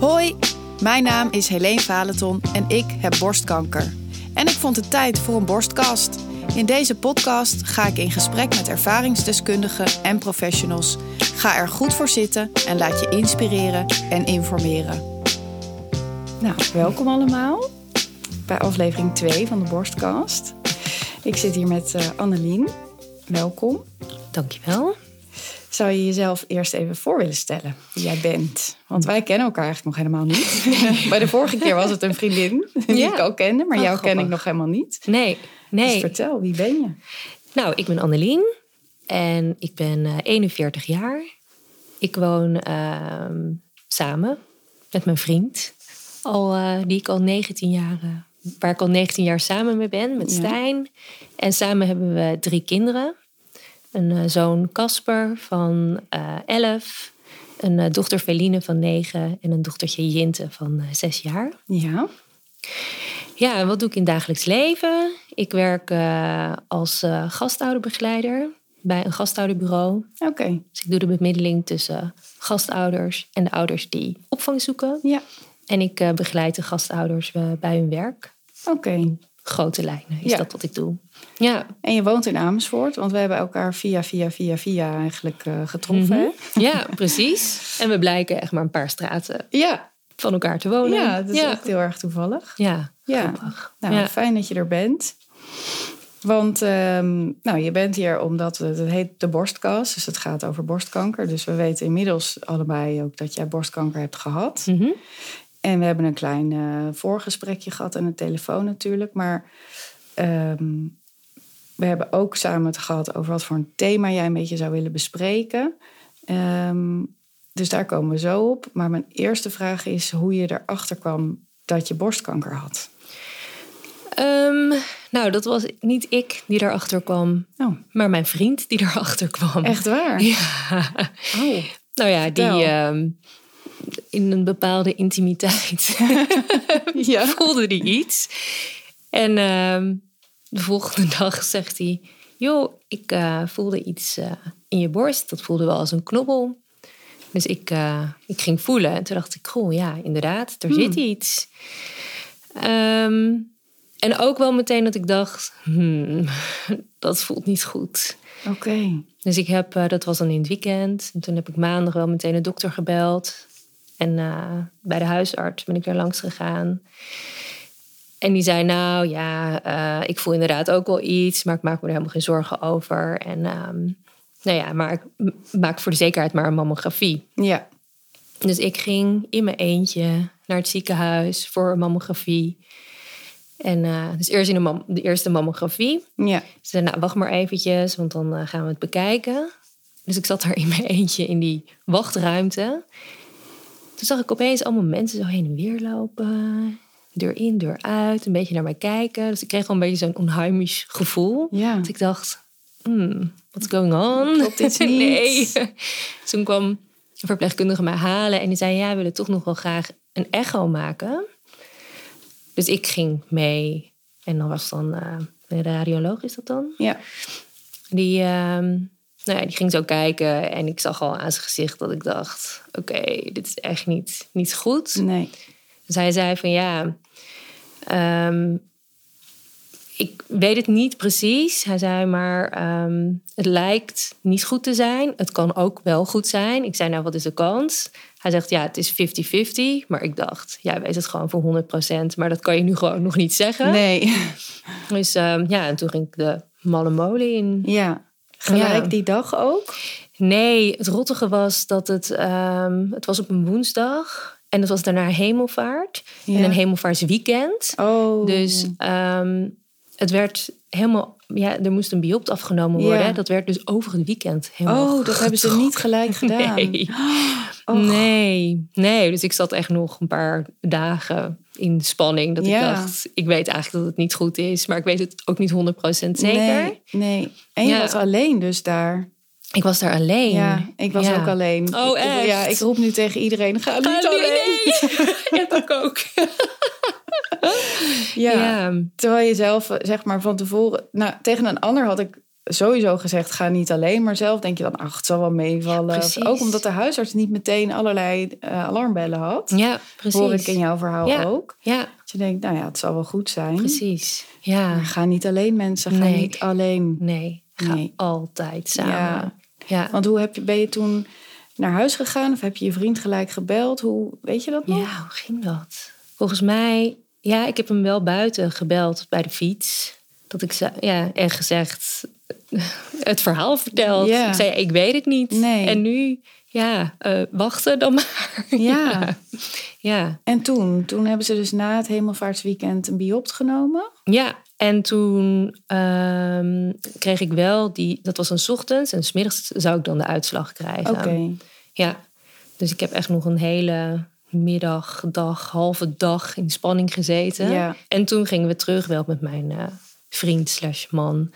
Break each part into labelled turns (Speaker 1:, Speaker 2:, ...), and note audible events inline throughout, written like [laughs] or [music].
Speaker 1: Hoi, mijn naam is Helene Valenton en ik heb borstkanker. En ik vond het tijd voor een borstkast. In deze podcast ga ik in gesprek met ervaringsdeskundigen en professionals. Ga er goed voor zitten en laat je inspireren en informeren. Nou, welkom allemaal bij aflevering 2 van de borstkast. Ik zit hier met eh, Annelien. Welkom.
Speaker 2: Dankjewel.
Speaker 1: Zou je jezelf eerst even voor willen stellen wie jij bent? Want wij kennen elkaar eigenlijk nog helemaal niet. Bij de vorige keer was het een vriendin die
Speaker 2: Ja.
Speaker 1: ik ook kende, maar
Speaker 2: Oh,
Speaker 1: jou ken
Speaker 2: grappig.
Speaker 1: ik nog helemaal niet.
Speaker 2: Nee,
Speaker 1: Dus
Speaker 2: nee.
Speaker 1: vertel, wie ben je?
Speaker 2: Nou, ik ben Annelien en ik ben eh, 41 jaar. Ik woon ehm, samen met mijn vriend, al, eh, die ik al 19 jaar, eh, waar ik al 19 jaar samen mee ben, met
Speaker 1: Ja.
Speaker 2: Stijn. En samen hebben we drie kinderen. Een eh, zoon Casper van eh 11, een eh, dochter Feline van 9 en een dochtertje Jinte van eh, 6 jaar.
Speaker 1: Ja,
Speaker 2: Ja, en wat doe ik in het dagelijks leven? Ik werk eh, als eh, gastouderbegeleider bij een gastouderbureau.
Speaker 1: oké.
Speaker 2: Dus ik doe de bemiddeling tussen gastouders en de ouders die opvang zoeken.
Speaker 1: Ja,
Speaker 2: En ik eh, begeleid de gastouders eh, bij hun werk.
Speaker 1: oké.
Speaker 2: Grote lijnen is
Speaker 1: Ja.
Speaker 2: dat wat ik doe. Ja,
Speaker 1: En je woont in Amersfoort, want we hebben elkaar via, via, via, via eigenlijk eh, getroffen.
Speaker 2: Mhm.
Speaker 1: hè?
Speaker 2: ja
Speaker 1: [laughs]
Speaker 2: precies. En we blijken echt maar een paar straten
Speaker 1: Ja,
Speaker 2: van elkaar te wonen.
Speaker 1: ja, dat is
Speaker 2: ja.
Speaker 1: echt heel erg toevallig.
Speaker 2: ja.
Speaker 1: Ja.
Speaker 2: grappig.
Speaker 1: Nou,
Speaker 2: Ja.
Speaker 1: fijn dat je er bent. Want ehm, nou, je bent hier omdat het het heet de borstkast. Dus het gaat over borstkanker. Dus we weten inmiddels allebei ook dat jij borstkanker hebt gehad.
Speaker 2: Mhm.
Speaker 1: En we hebben een klein eh, voorgesprekje gehad aan de telefoon natuurlijk. Maar ehm, we hebben ook samen het gehad over wat voor een thema jij een beetje zou willen bespreken. Ehm, dus daar komen we zo op. Maar mijn eerste vraag is hoe je erachter kwam dat je borstkanker had.
Speaker 2: Ehm, nou, dat was niet ik die daarachter kwam,
Speaker 1: Nou,
Speaker 2: maar mijn vriend die daarachter kwam.
Speaker 1: echt waar?
Speaker 2: Ja.
Speaker 1: Oh,
Speaker 2: Nou ja,
Speaker 1: Vertel.
Speaker 2: die ehm, in een bepaalde intimiteit
Speaker 1: ja.
Speaker 2: voelde die iets. En ehm, de volgende [laughs] dag zegt hij: Joh, ik eh, voelde iets eh, in je borst. Dat voelde wel als een knobbel. Dus ik, eh, ik ging voelen. En toen dacht ik: Goh, ja, inderdaad, er zit iets. Ehm, en ook wel meteen dat ik dacht: hmm, [laughs] dat voelt niet goed.
Speaker 1: Oké.
Speaker 2: Dus ik heb, eh, dat was dan in het weekend. En toen heb ik maandag wel meteen de dokter gebeld. En eh, bij de huisarts ben ik daar langs gegaan. En die zei, nou ja, eh, ik voel inderdaad ook wel iets, maar ik maak me er helemaal geen zorgen over. En ehm, nou ja, maar ik m- maak voor de zekerheid maar een mammografie.
Speaker 1: Ja.
Speaker 2: Dus ik ging in mijn eentje naar het ziekenhuis voor een mammografie. En eh, dus eerst in de, mam- de eerste mammografie.
Speaker 1: Ja.
Speaker 2: Ze zei, nou, wacht maar eventjes, want dan eh, gaan we het bekijken. Dus ik zat daar in mijn [laughs] eentje in die wachtruimte. Toen zag ik opeens allemaal mensen zo heen en weer lopen. Deur in, deur uit, een beetje naar mij kijken. Dus ik kreeg al een beetje zo'n onheimisch gevoel.
Speaker 1: Ja.
Speaker 2: Dat ik dacht, hmm, what's going on?
Speaker 1: Mm.
Speaker 2: [laughs]
Speaker 1: Klopt iets niet?
Speaker 2: nee. Toen kwam een verpleegkundige mij halen en die zei... ja, we willen toch nog wel graag een echo maken. Dus ik ging mee. En dan was dan eh, een radioloog, is dat dan?
Speaker 1: Ja.
Speaker 2: Die, ehm, nou ja, die ging zo kijken en ik zag al aan zijn gezicht dat ik dacht... oké, dit is echt niet, niet goed.
Speaker 1: Nee.
Speaker 2: Dus hij zei van ja, ehm, ik weet het niet precies. Hij zei maar, ehm, het lijkt niet goed te zijn. Het kan ook wel goed zijn. Ik zei nou, wat is de kans? Hij zegt ja, het is 50-50. Maar ik dacht, ja, wees het gewoon voor 100%. Maar dat kan je nu gewoon nog niet zeggen.
Speaker 1: Nee. [laughs]
Speaker 2: Dus ehm, ja, en toen ging ik de malle molen in.
Speaker 1: Ja. Gelijk
Speaker 2: Ja.
Speaker 1: die dag ook?
Speaker 2: Nee, het rottige was dat het, ehm, het was op een woensdag. En het was daarna hemelvaart.
Speaker 1: Ja.
Speaker 2: En een hemelvaartsweekend.
Speaker 1: Oh.
Speaker 2: Dus ehm, het werd helemaal. Ja, er moest een biopt afgenomen worden.
Speaker 1: Ja.
Speaker 2: Dat werd dus over het weekend helemaal.
Speaker 1: Oh, dat hebben ze niet gelijk
Speaker 2: [laughs]
Speaker 1: gedaan.
Speaker 2: Nee.
Speaker 1: [gasps] Och.
Speaker 2: nee, nee. Dus ik zat echt nog een paar dagen in spanning. Dat
Speaker 1: Ja.
Speaker 2: ik dacht, ik weet eigenlijk dat het niet goed is. Maar ik weet het ook niet 100% zeker.
Speaker 1: Nee, nee. En je
Speaker 2: Ja.
Speaker 1: was alleen dus daar.
Speaker 2: Ik was daar alleen.
Speaker 1: Ja, ik was
Speaker 2: Ja.
Speaker 1: ook alleen.
Speaker 2: Oh,
Speaker 1: Ik- ik- Ja,
Speaker 2: echt?
Speaker 1: ik roep nu tegen iedereen, ga
Speaker 2: Ah,
Speaker 1: niet
Speaker 2: nee,
Speaker 1: alleen.
Speaker 2: nee. [laughs] ja, dat ook.
Speaker 1: [laughs] Ja.
Speaker 2: Ja.
Speaker 1: Terwijl je zelf, eh, zeg maar, van tevoren... Nou, tegen een ander had ik sowieso gezegd, ga niet alleen. Maar zelf denk je dan, ach, het zal wel meevallen.
Speaker 2: Ja, precies.
Speaker 1: ook omdat de huisarts niet meteen allerlei eh, alarmbellen had.
Speaker 2: Ja, precies.
Speaker 1: Hoor ik in jouw verhaal
Speaker 2: Ja.
Speaker 1: ook.
Speaker 2: Ja,
Speaker 1: Dat je denkt, nou ja, het zal wel goed zijn.
Speaker 2: precies. Ja,
Speaker 1: Maar ga niet alleen mensen, ga
Speaker 2: Nee.
Speaker 1: niet alleen.
Speaker 2: nee. Ga
Speaker 1: Nee.
Speaker 2: altijd samen.
Speaker 1: Ja.
Speaker 2: Ja.
Speaker 1: Want hoe heb je, ben je toen naar huis gegaan? Of heb je je vriend gelijk gebeld? Hoe, weet je dat nog?
Speaker 2: Ja, hoe ging dat? Volgens mij, ja, ik heb hem wel buiten gebeld bij de fiets. Dat ik ze, ja, en gezegd, [laughs] het verhaal verteld.
Speaker 1: Ja.
Speaker 2: Ik zei, ik weet het niet.
Speaker 1: Nee.
Speaker 2: En nu, ja, eh, wachten dan [laughs] maar.
Speaker 1: Ja.
Speaker 2: ja.
Speaker 1: En toen? Toen hebben ze dus na het hemelvaartsweekend een biopt genomen.
Speaker 2: Ja, en toen ehm, kreeg ik wel die, dat was een ochtends en 's middags zou ik dan de uitslag krijgen.
Speaker 1: Oké.
Speaker 2: Ja, dus ik heb echt nog een hele middag, dag, halve dag in spanning gezeten.
Speaker 1: Ja.
Speaker 2: En toen gingen we terug wel met mijn eh, vriend slash man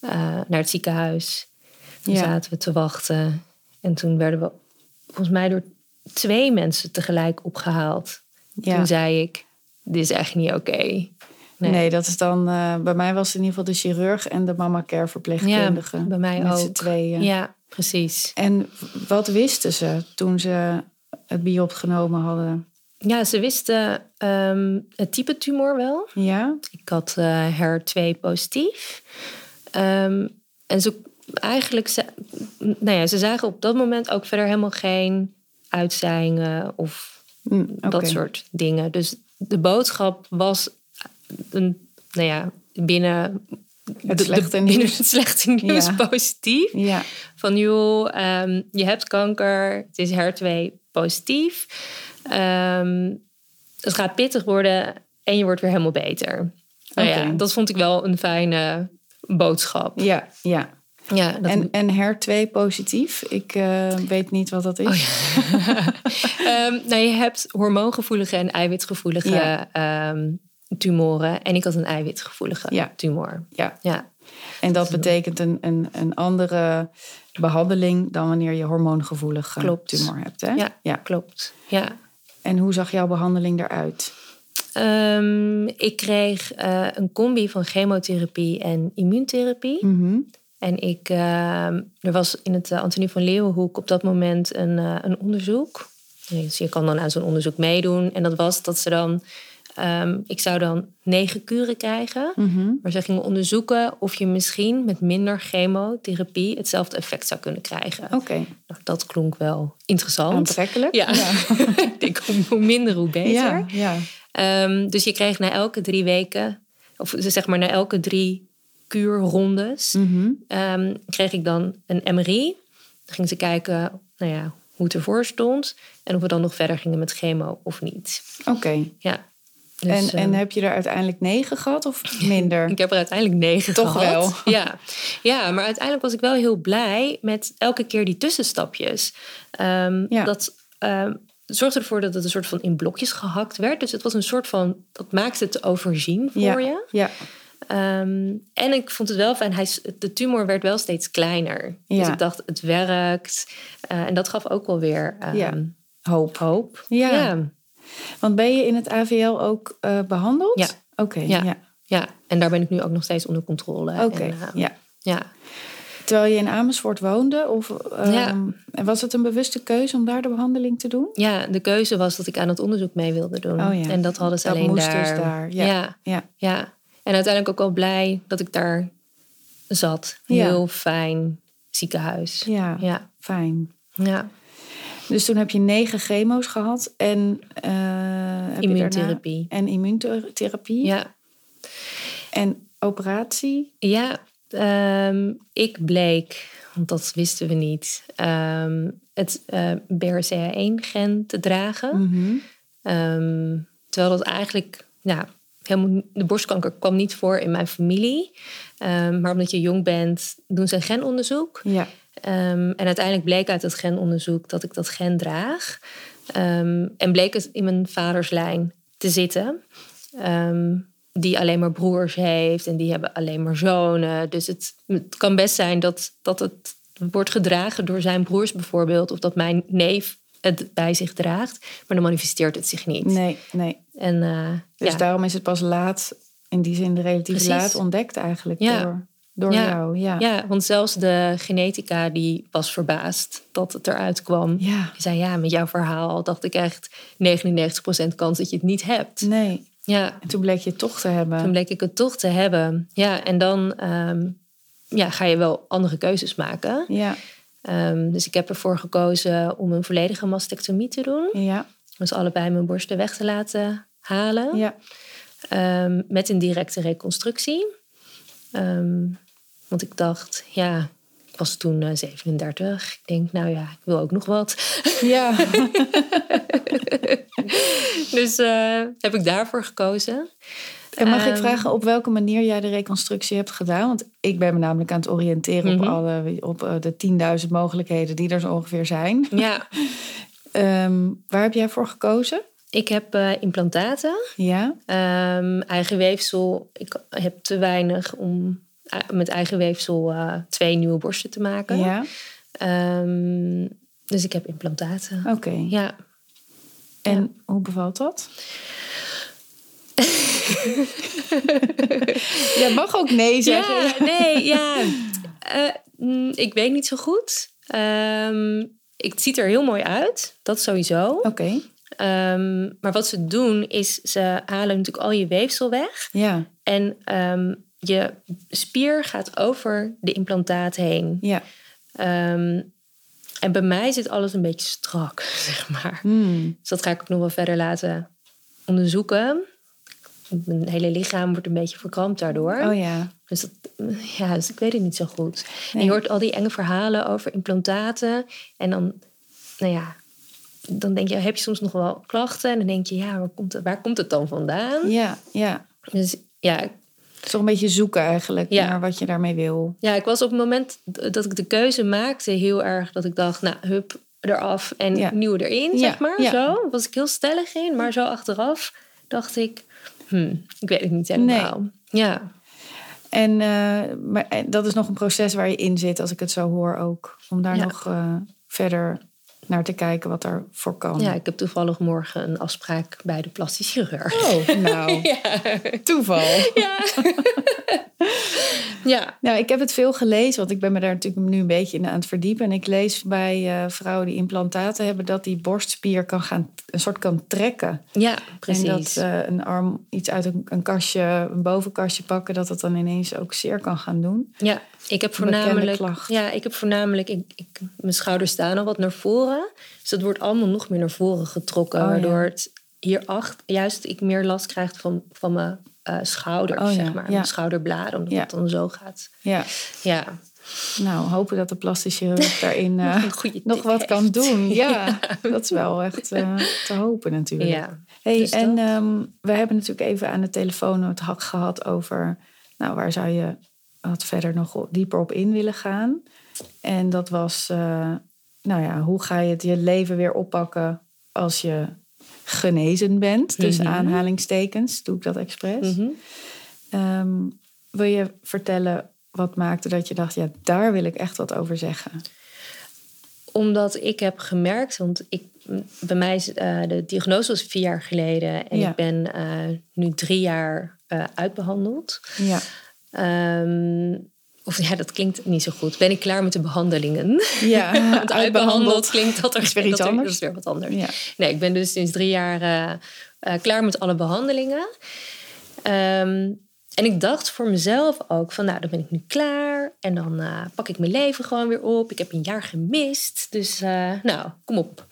Speaker 2: eh, naar het ziekenhuis. Toen
Speaker 1: Ja.
Speaker 2: zaten we te wachten. En toen werden we volgens mij door twee mensen tegelijk opgehaald.
Speaker 1: Ja.
Speaker 2: Toen zei ik, dit is echt niet oké.
Speaker 1: Nee. dat is dan... eh, bij mij was het in ieder geval de chirurg en de mama care verpleegkundige.
Speaker 2: Ja, bij mij
Speaker 1: Met
Speaker 2: ook.
Speaker 1: z'n tweeën.
Speaker 2: Ja, precies.
Speaker 1: En wat wisten ze toen ze het biopt genomen hadden?
Speaker 2: Ja, ze wisten ehm, het type tumor wel.
Speaker 1: Ja?
Speaker 2: Ik had eh HER2 positief. Ehm, en ze eigenlijk, ze, nou ja, ze zagen op dat moment ook verder helemaal geen uitzaaiingen of
Speaker 1: Hm, Oké.
Speaker 2: dat soort dingen. Dus de boodschap was een, nou ja, binnen
Speaker 1: Het
Speaker 2: de-
Speaker 1: slechte
Speaker 2: de,
Speaker 1: nieuws.
Speaker 2: binnen het slechte nieuws
Speaker 1: Ja.
Speaker 2: positief.
Speaker 1: Ja,
Speaker 2: Van joh, ehm, je hebt kanker, het is HER2 positief. Ehm, het gaat pittig worden en je wordt weer helemaal beter. Nou
Speaker 1: Oké.
Speaker 2: ja, dat vond ik wel een fijne boodschap.
Speaker 1: ja, ja.
Speaker 2: Ja, dat,
Speaker 1: En, en HER2 positief? Ik eh, weet niet wat
Speaker 2: Oh
Speaker 1: dat is.
Speaker 2: Ehm, nou, je hebt hormoongevoelige en eiwitgevoelige
Speaker 1: Ja.
Speaker 2: ehm, tumoren. En ik had een eiwitgevoelige
Speaker 1: Ja.
Speaker 2: tumor.
Speaker 1: Ja.
Speaker 2: Ja,
Speaker 1: En dat betekent een, een, een andere behandeling dan wanneer je hormoongevoelig eh,
Speaker 2: Klopt.
Speaker 1: tumor hebt. Hè?
Speaker 2: Ja. klopt. Ja.
Speaker 1: En hoe zag jouw behandeling eruit?
Speaker 2: Ehm, ik kreeg eh, een combi van chemotherapie en immuuntherapie.
Speaker 1: Mhm.
Speaker 2: En ik, eh, er was in het eh, Antonie van Leeuwenhoek op dat moment een, eh, een onderzoek. Dus je kan dan aan zo'n onderzoek meedoen. En dat was dat ze dan, ehm, ik zou dan negen kuren krijgen.
Speaker 1: Mhm.
Speaker 2: Maar ze gingen onderzoeken of je misschien met minder chemotherapie hetzelfde effect zou kunnen krijgen.
Speaker 1: Oké,
Speaker 2: Nou, dat klonk wel interessant.
Speaker 1: aantrekkelijk.
Speaker 2: Ja, ik denk hoe- hoe minder hoe [laughs] beter.
Speaker 1: ja, ja.
Speaker 2: Ehm, dus je kreeg na elke drie weken, of zeg maar na elke drie kuurrondes,
Speaker 1: Mhm.
Speaker 2: ehm, kreeg ik dan een MRI. Dan gingen ze kijken nou ja, hoe het ervoor stond en of we dan nog verder gingen met chemo of niet.
Speaker 1: Oké,
Speaker 2: Ja. Dus,
Speaker 1: en,
Speaker 2: ehm,
Speaker 1: en heb je er uiteindelijk negen
Speaker 2: [laughs]
Speaker 1: gehad of minder?
Speaker 2: ik heb er uiteindelijk negen
Speaker 1: Toch
Speaker 2: gehad. [laughs] Ja. ja, maar uiteindelijk was ik wel heel blij met elke keer die tussenstapjes. Ehm,
Speaker 1: Ja.
Speaker 2: Dat ehm, zorgde ervoor dat het een soort van in blokjes gehakt werd. Dus het was een soort van, dat maakte het te overzien voor
Speaker 1: ja.
Speaker 2: je.
Speaker 1: Ja,
Speaker 2: Ehm, en ik vond het wel fijn, hij, s- de tumor werd wel steeds kleiner. Dus
Speaker 1: Ja.
Speaker 2: ik dacht, het werkt. Eh, en dat gaf ook wel weer ehm,
Speaker 1: Ja.
Speaker 2: hoop. hoop.
Speaker 1: Ja.
Speaker 2: ja.
Speaker 1: want ben je in het AVL ook eh, behandeld?
Speaker 2: Ja.
Speaker 1: Oké, ja.
Speaker 2: Ja. Ja. en daar ben ik nu ook nog steeds onder controle.
Speaker 1: Oké,
Speaker 2: En, ehm,
Speaker 1: ja.
Speaker 2: ja.
Speaker 1: Terwijl je in Amersfoort woonde? Of, ehm,
Speaker 2: Ja.
Speaker 1: En was het een bewuste keuze om daar de behandeling te doen?
Speaker 2: Ja, de keuze was dat ik aan het onderzoek mee wilde doen.
Speaker 1: Oh ja.
Speaker 2: En dat hadden ze
Speaker 1: Dat
Speaker 2: alleen
Speaker 1: moest
Speaker 2: daar.
Speaker 1: dus daar, ja.
Speaker 2: ja,
Speaker 1: Ja,
Speaker 2: ja. En uiteindelijk ook wel blij dat ik daar zat.
Speaker 1: Ja.
Speaker 2: Heel fijn ziekenhuis.
Speaker 1: ja,
Speaker 2: Ja.
Speaker 1: fijn.
Speaker 2: ja.
Speaker 1: Dus toen heb je negen chemo's gehad en... eh, heb je daarna-
Speaker 2: Immuuntherapie.
Speaker 1: En immuuntherapie.
Speaker 2: ja.
Speaker 1: En operatie?
Speaker 2: Ja, ehm, ik bleek, want dat wisten we niet, ehm, het eh BRCA1-gen te dragen.
Speaker 1: Mhm.
Speaker 2: Ehm, terwijl dat eigenlijk, nou, helemaal, de borstkanker kwam niet voor in mijn familie. Ehm, maar omdat je jong bent, doen ze een genonderzoek.
Speaker 1: Ja.
Speaker 2: Ehm, en uiteindelijk bleek uit dat genonderzoek dat ik dat gen draag. Ehm, en bleek het in mijn vaders lijn te zitten. Ehm, die alleen maar broers heeft en die hebben alleen maar zonen. Dus het, het kan best zijn dat, dat het wordt gedragen door zijn broers bijvoorbeeld. Of dat mijn neef het bij zich draagt. Maar dan manifesteert het zich niet.
Speaker 1: Nee, nee.
Speaker 2: En, eh,
Speaker 1: Dus
Speaker 2: ja.
Speaker 1: daarom is het pas laat, in die zin relatief
Speaker 2: Precies.
Speaker 1: laat ontdekt eigenlijk
Speaker 2: Ja.
Speaker 1: door door
Speaker 2: Ja.
Speaker 1: jou. Ja.
Speaker 2: Ja, want zelfs de genetica die was verbaasd dat het eruit kwam.
Speaker 1: Ja.
Speaker 2: Die zei, ja, met jouw verhaal dacht ik echt 99% kans dat je het niet hebt.
Speaker 1: Nee.
Speaker 2: Mm. Ja,
Speaker 1: En toen bleek je het toch te hebben.
Speaker 2: toen bleek ik het toch te hebben. Ja, en dan ehm, ja, ga je wel andere keuzes maken.
Speaker 1: Ja.
Speaker 2: Ehm, dus ik heb ervoor gekozen om een volledige mastectomie te doen.
Speaker 1: Ja.
Speaker 2: Dus allebei mijn borsten weg te laten halen.
Speaker 1: Ja.
Speaker 2: Ehm, met een directe reconstructie. Ehm, want ik dacht, ja, ik was toen eh, 37. Ik denk, nou ja, ik wil ook nog wat. [laughs]
Speaker 1: Ja.
Speaker 2: dus eh, heb ik daarvoor gekozen.
Speaker 1: En mag ik
Speaker 2: Ehm,
Speaker 1: vragen op welke manier jij de reconstructie hebt gedaan? Want ik ben me namelijk aan het oriënteren
Speaker 2: Mhm.
Speaker 1: op, alle, op eh, de 10.000 mogelijkheden die er zo ongeveer zijn.
Speaker 2: Ja,
Speaker 1: Ehm, waar heb jij voor gekozen?
Speaker 2: ik heb eh, implantaten.
Speaker 1: Ja.
Speaker 2: Ehm, eigen weefsel. Ik heb te weinig om eh, met eigen weefsel eh, twee nieuwe borsten te maken.
Speaker 1: Ja.
Speaker 2: Ehm, dus ik heb implantaten.
Speaker 1: Oké.
Speaker 2: Ja,
Speaker 1: En hoe bevalt dat? [laughs] jij mag ook nee zeggen.
Speaker 2: Ja, [laughs] nee, ja. Eh, mm, ik weet niet zo goed. Ehm, ik- het ziet er heel mooi uit, dat sowieso.
Speaker 1: Oké.
Speaker 2: Ehm, maar wat ze doen is, ze halen natuurlijk al je weefsel weg.
Speaker 1: Ja.
Speaker 2: En ehm, je spier gaat over de implantaat heen.
Speaker 1: Ja.
Speaker 2: Ehm, en bij mij zit alles een beetje strak, [laughs] zeg maar.
Speaker 1: Hmm.
Speaker 2: Dus dat ga ik ook nog wel verder laten onderzoeken. Mijn hele lichaam wordt een beetje verkrampt daardoor.
Speaker 1: Oh ja.
Speaker 2: Dus, dat, ja, dus ik weet het niet zo goed. En
Speaker 1: Nee.
Speaker 2: je hoort al die enge verhalen over implantaten. En dan, nou ja, dan denk je, heb je soms nog wel klachten? En dan denk je, ja, waar komt het, waar komt het dan vandaan?
Speaker 1: Ja. Ja.
Speaker 2: Dus ja,
Speaker 1: Het is toch een beetje zoeken eigenlijk
Speaker 2: Ja.
Speaker 1: naar wat je daarmee wil.
Speaker 2: ja, ik was op het moment dat ik de keuze maakte heel erg dat ik dacht, nou, hup, eraf en
Speaker 1: Ja.
Speaker 2: nieuw erin,
Speaker 1: Ja,
Speaker 2: zeg maar.
Speaker 1: ja.
Speaker 2: Zo was ik heel stellig in, maar zo achteraf dacht ik, hmm, ik weet het niet helemaal. Ja,
Speaker 1: En eh, maar, en dat is nog een proces waar je in zit, als ik het zo hoor ook. Om daar
Speaker 2: Ja.
Speaker 1: nog eh, verder naar te kijken wat daarvoor kan.
Speaker 2: ja, ik heb toevallig morgen een afspraak bij de plastisch chirurg. [laughs]
Speaker 1: Oh, nou, [laughs] toeval.
Speaker 2: Ja,
Speaker 1: Nou, ik heb het veel gelezen, want ik ben me daar natuurlijk nu een beetje in aan het verdiepen. En ik lees bij eh, vrouwen die implantaten hebben dat die borstspier kan gaan, een soort kan trekken.
Speaker 2: ja precies.
Speaker 1: En dat eh, een arm iets uit een, een kastje, een bovenkastje pakken, dat het dan ineens ook zeer kan gaan doen.
Speaker 2: ja, ik heb
Speaker 1: bekende
Speaker 2: voornamelijk.
Speaker 1: klacht.
Speaker 2: Ja, ik heb voornamelijk. Ik, ik, mijn schouders staan al wat naar voren. Dus dat wordt allemaal nog meer naar voren getrokken.
Speaker 1: Oh, ja.
Speaker 2: waardoor het hierachter juist ik meer last krijg van, van mijn eh schouders,
Speaker 1: Oh, ja,
Speaker 2: zeg maar.
Speaker 1: ja.
Speaker 2: Mijn schouderbladen, omdat
Speaker 1: Ja.
Speaker 2: het dan zo gaat.
Speaker 1: Ja,
Speaker 2: Ja,
Speaker 1: nou, hopen dat de
Speaker 2: [laughs]
Speaker 1: plastische chirurg daarin eh,
Speaker 2: een goede
Speaker 1: nog
Speaker 2: tip
Speaker 1: wat
Speaker 2: heeft.
Speaker 1: kan
Speaker 2: [laughs]
Speaker 1: doen. Ja, dat is wel echt eh, te hopen natuurlijk.
Speaker 2: Ja.
Speaker 1: Hey,
Speaker 2: Dus
Speaker 1: en ehm, we hebben natuurlijk even aan de telefoon het hak gehad over... nou, waar zou je wat verder nog op- dieper op in willen gaan? En dat was, eh, nou ja, hoe ga je het je leven weer oppakken... als je genezen bent, tussen
Speaker 2: Mhm.
Speaker 1: aanhalingstekens. Doe ik dat expres?
Speaker 2: Mhm.
Speaker 1: Ehm, wil je vertellen wat maakte dat je dacht... ja, daar wil ik echt wat over zeggen?
Speaker 2: Omdat ik heb gemerkt, want ik, m, bij mij is eh, de diagnose was vier jaar geleden. En
Speaker 1: Ja.
Speaker 2: ik ben eh, nu drie jaar eh, uitbehandeld.
Speaker 1: Ja,
Speaker 2: Ehm, of ja, dat klinkt niet zo goed. Ben ik klaar met de behandelingen?
Speaker 1: ja
Speaker 2: [laughs]
Speaker 1: [laughs]
Speaker 2: Want Eh, uitbehandeld klinkt dat er
Speaker 1: Is weer iets
Speaker 2: dat er-
Speaker 1: anders.
Speaker 2: Dat is weer wat anders.
Speaker 1: Ja.
Speaker 2: Nee, ik ben dus sinds drie jaar eh, eh, klaar met alle behandelingen. Ehm, en ik dacht voor mezelf ook van, nou, dan ben ik nu klaar. En dan eh, pak ik mijn leven gewoon weer op. Ik heb een jaar gemist. Dus, eh, nou, kom op.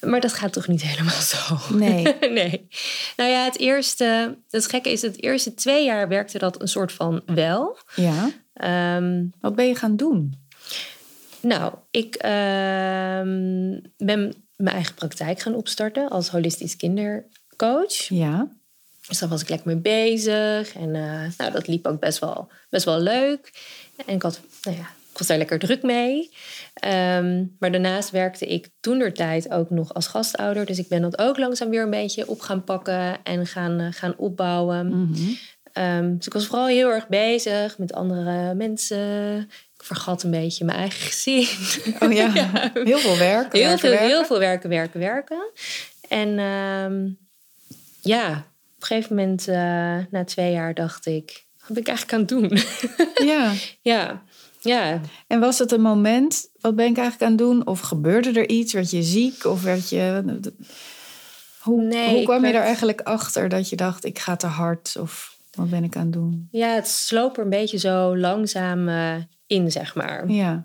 Speaker 2: Maar dat gaat toch niet [laughs] helemaal zo?
Speaker 1: Nee.
Speaker 2: [laughs] nee. Nou ja, het eerste, het gekke is, het eerste twee jaar werkte dat een soort van wel.
Speaker 1: Ja,
Speaker 2: Ehm,
Speaker 1: wat ben je gaan doen?
Speaker 2: nou, ik ehm, ben mijn eigen praktijk gaan opstarten als holistisch kindercoach.
Speaker 1: Ja,
Speaker 2: Dus daar was ik lekker mee bezig. En eh, nou, dat liep ook best wel, best wel leuk. En ik, had, nou ja, ik was daar lekker druk mee. Ehm, maar daarnaast werkte ik toen der tijd ook nog als gastouder. Dus ik ben dat ook langzaam weer een beetje op gaan pakken en gaan, eh, gaan opbouwen.
Speaker 1: Mhm.
Speaker 2: Ehm, dus ik was vooral heel erg bezig met andere mensen. Ik vergat een beetje mijn eigen gezin.
Speaker 1: Oh
Speaker 2: [laughs]
Speaker 1: ja, heel veel werk.
Speaker 2: Heel
Speaker 1: werken,
Speaker 2: veel,
Speaker 1: werken.
Speaker 2: heel veel werken, werken, werken. En ehm, ja, op een gegeven moment, eh, na twee jaar, dacht ik: ben ik eigenlijk aan het doen? [laughs]
Speaker 1: Ja.
Speaker 2: ja, ja.
Speaker 1: En was dat een moment, wat ben ik eigenlijk aan het doen? Of gebeurde er iets? Werd je ziek? Of werd je... Hoe,
Speaker 2: Nee,
Speaker 1: hoe
Speaker 2: ik
Speaker 1: kwam je
Speaker 2: werd-
Speaker 1: daar eigenlijk achter dat je dacht, ik ga te hard? Of wat ben ik aan het doen?
Speaker 2: ja, het sloop er een beetje zo langzaam eh, in, zeg maar.
Speaker 1: Ja,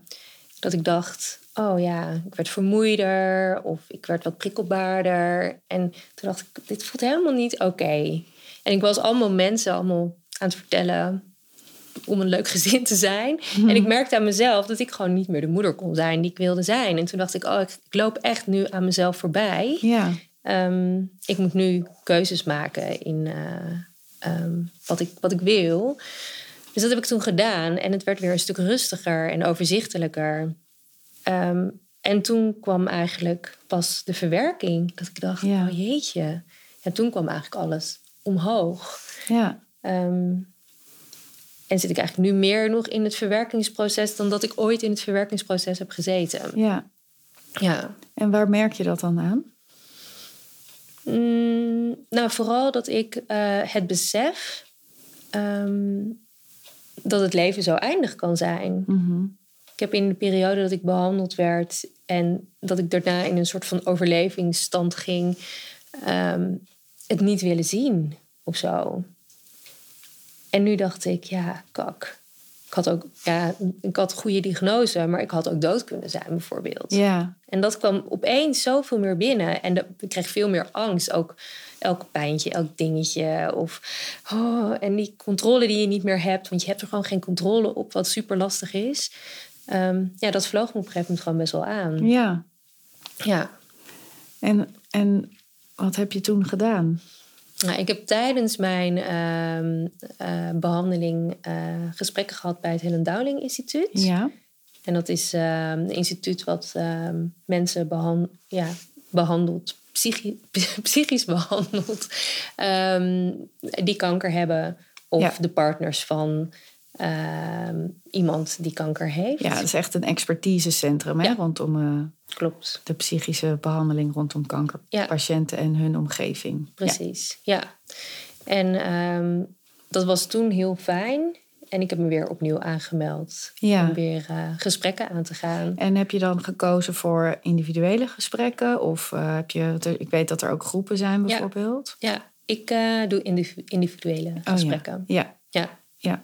Speaker 2: Dat ik dacht, oh ja, ik werd vermoeider of ik werd wat prikkelbaarder. En toen dacht ik, dit voelt helemaal niet oké. En ik was allemaal mensen allemaal aan het vertellen om een leuk [laughs] gezin te zijn. En ik merkte aan mezelf dat ik gewoon niet meer de moeder kon zijn die ik wilde zijn. En toen dacht ik, oh, ik, ik loop echt nu aan mezelf voorbij.
Speaker 1: ja,
Speaker 2: Ehm, ik moet nu keuzes maken in eh, ehm, wat, ik, wat ik wil. Dus dat heb ik toen gedaan. En het werd weer een stuk rustiger en overzichtelijker. Ehm, en toen kwam eigenlijk pas de verwerking. Dat ik dacht,
Speaker 1: Ja.
Speaker 2: oh jeetje. En toen kwam eigenlijk alles omhoog.
Speaker 1: ja.
Speaker 2: Ehm, en zit ik eigenlijk nu meer nog in het verwerkingsproces... dan dat ik ooit in het verwerkingsproces heb gezeten.
Speaker 1: ja.
Speaker 2: Ja.
Speaker 1: En waar merk je dat dan aan?
Speaker 2: Mm, nou, vooral dat ik eh, het besef ehm, dat het leven zo eindig kan zijn. Ik heb in de periode dat ik behandeld werd en dat ik daarna in een soort van overlevingsstand ging, ehm, het niet willen zien of zo. En nu dacht ik, ja, kak. Ik had ook, ja, ik had goede diagnose, maar ik had ook dood kunnen zijn, bijvoorbeeld.
Speaker 1: Ja,
Speaker 2: En dat kwam opeens zoveel meer binnen. En dat, ik kreeg veel meer angst. Ook elk pijntje, elk dingetje. Of, oh, en die controle die je niet meer hebt. Want je hebt er gewoon geen controle op, wat super lastig is. Ehm, ja, dat vloog me op een gegeven moment gewoon best wel aan.
Speaker 1: ja.
Speaker 2: Ja.
Speaker 1: En, en wat heb je toen gedaan?
Speaker 2: Nou, ik heb tijdens mijn ehm, eh, behandeling eh, gesprekken gehad bij het Helen Dowling Instituut.
Speaker 1: Ja,
Speaker 2: En dat is ehm, een instituut wat ehm, mensen behan- ja, behandelt, psychi- [laughs] psychisch behandelt, ehm, die kanker hebben. Of
Speaker 1: Ja.
Speaker 2: de partners van ehm, iemand die kanker heeft.
Speaker 1: ja dat is echt een expertisecentrum hè,
Speaker 2: Ja.
Speaker 1: rondom eh,
Speaker 2: Klopt,
Speaker 1: de psychische behandeling rondom kankerpatiënten en hun omgeving.
Speaker 2: precies. Ja. En ehm, dat was toen heel fijn. En ik heb me weer opnieuw aangemeld.
Speaker 1: Ja.
Speaker 2: Om weer eh, gesprekken aan te gaan.
Speaker 1: En heb je dan gekozen voor individuele gesprekken? Of eh, heb je, want er- ik weet dat er ook groepen zijn bijvoorbeeld.
Speaker 2: Ja, ik eh, doe indiv- individuele
Speaker 1: Oh,
Speaker 2: gesprekken.
Speaker 1: ja.
Speaker 2: ja.
Speaker 1: Ja,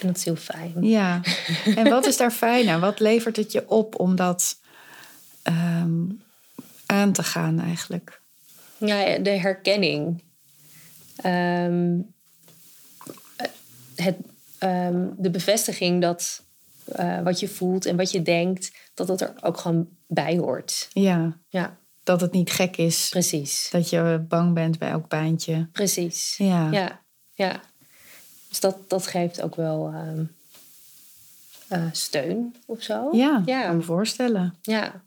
Speaker 2: En dat is heel fijn. [laughs]
Speaker 1: ja. ja. en wat is daar fijn aan? Wat levert het je op om dat ehm, aan te gaan eigenlijk?
Speaker 2: Ja, de herkenning. Ehm, het, ehm, de bevestiging dat eh, wat je voelt en wat je denkt, dat dat er ook gewoon bij hoort.
Speaker 1: Ja,
Speaker 2: Ja,
Speaker 1: dat het niet gek is
Speaker 2: precies.
Speaker 1: dat je bang bent bij elk pijntje.
Speaker 2: Precies.
Speaker 1: Ja.
Speaker 2: ja. ja. Dus dat, dat geeft ook wel ehm, eh, steun of zo.
Speaker 1: Ja, kan
Speaker 2: ja.
Speaker 1: me voorstellen.
Speaker 2: Ja.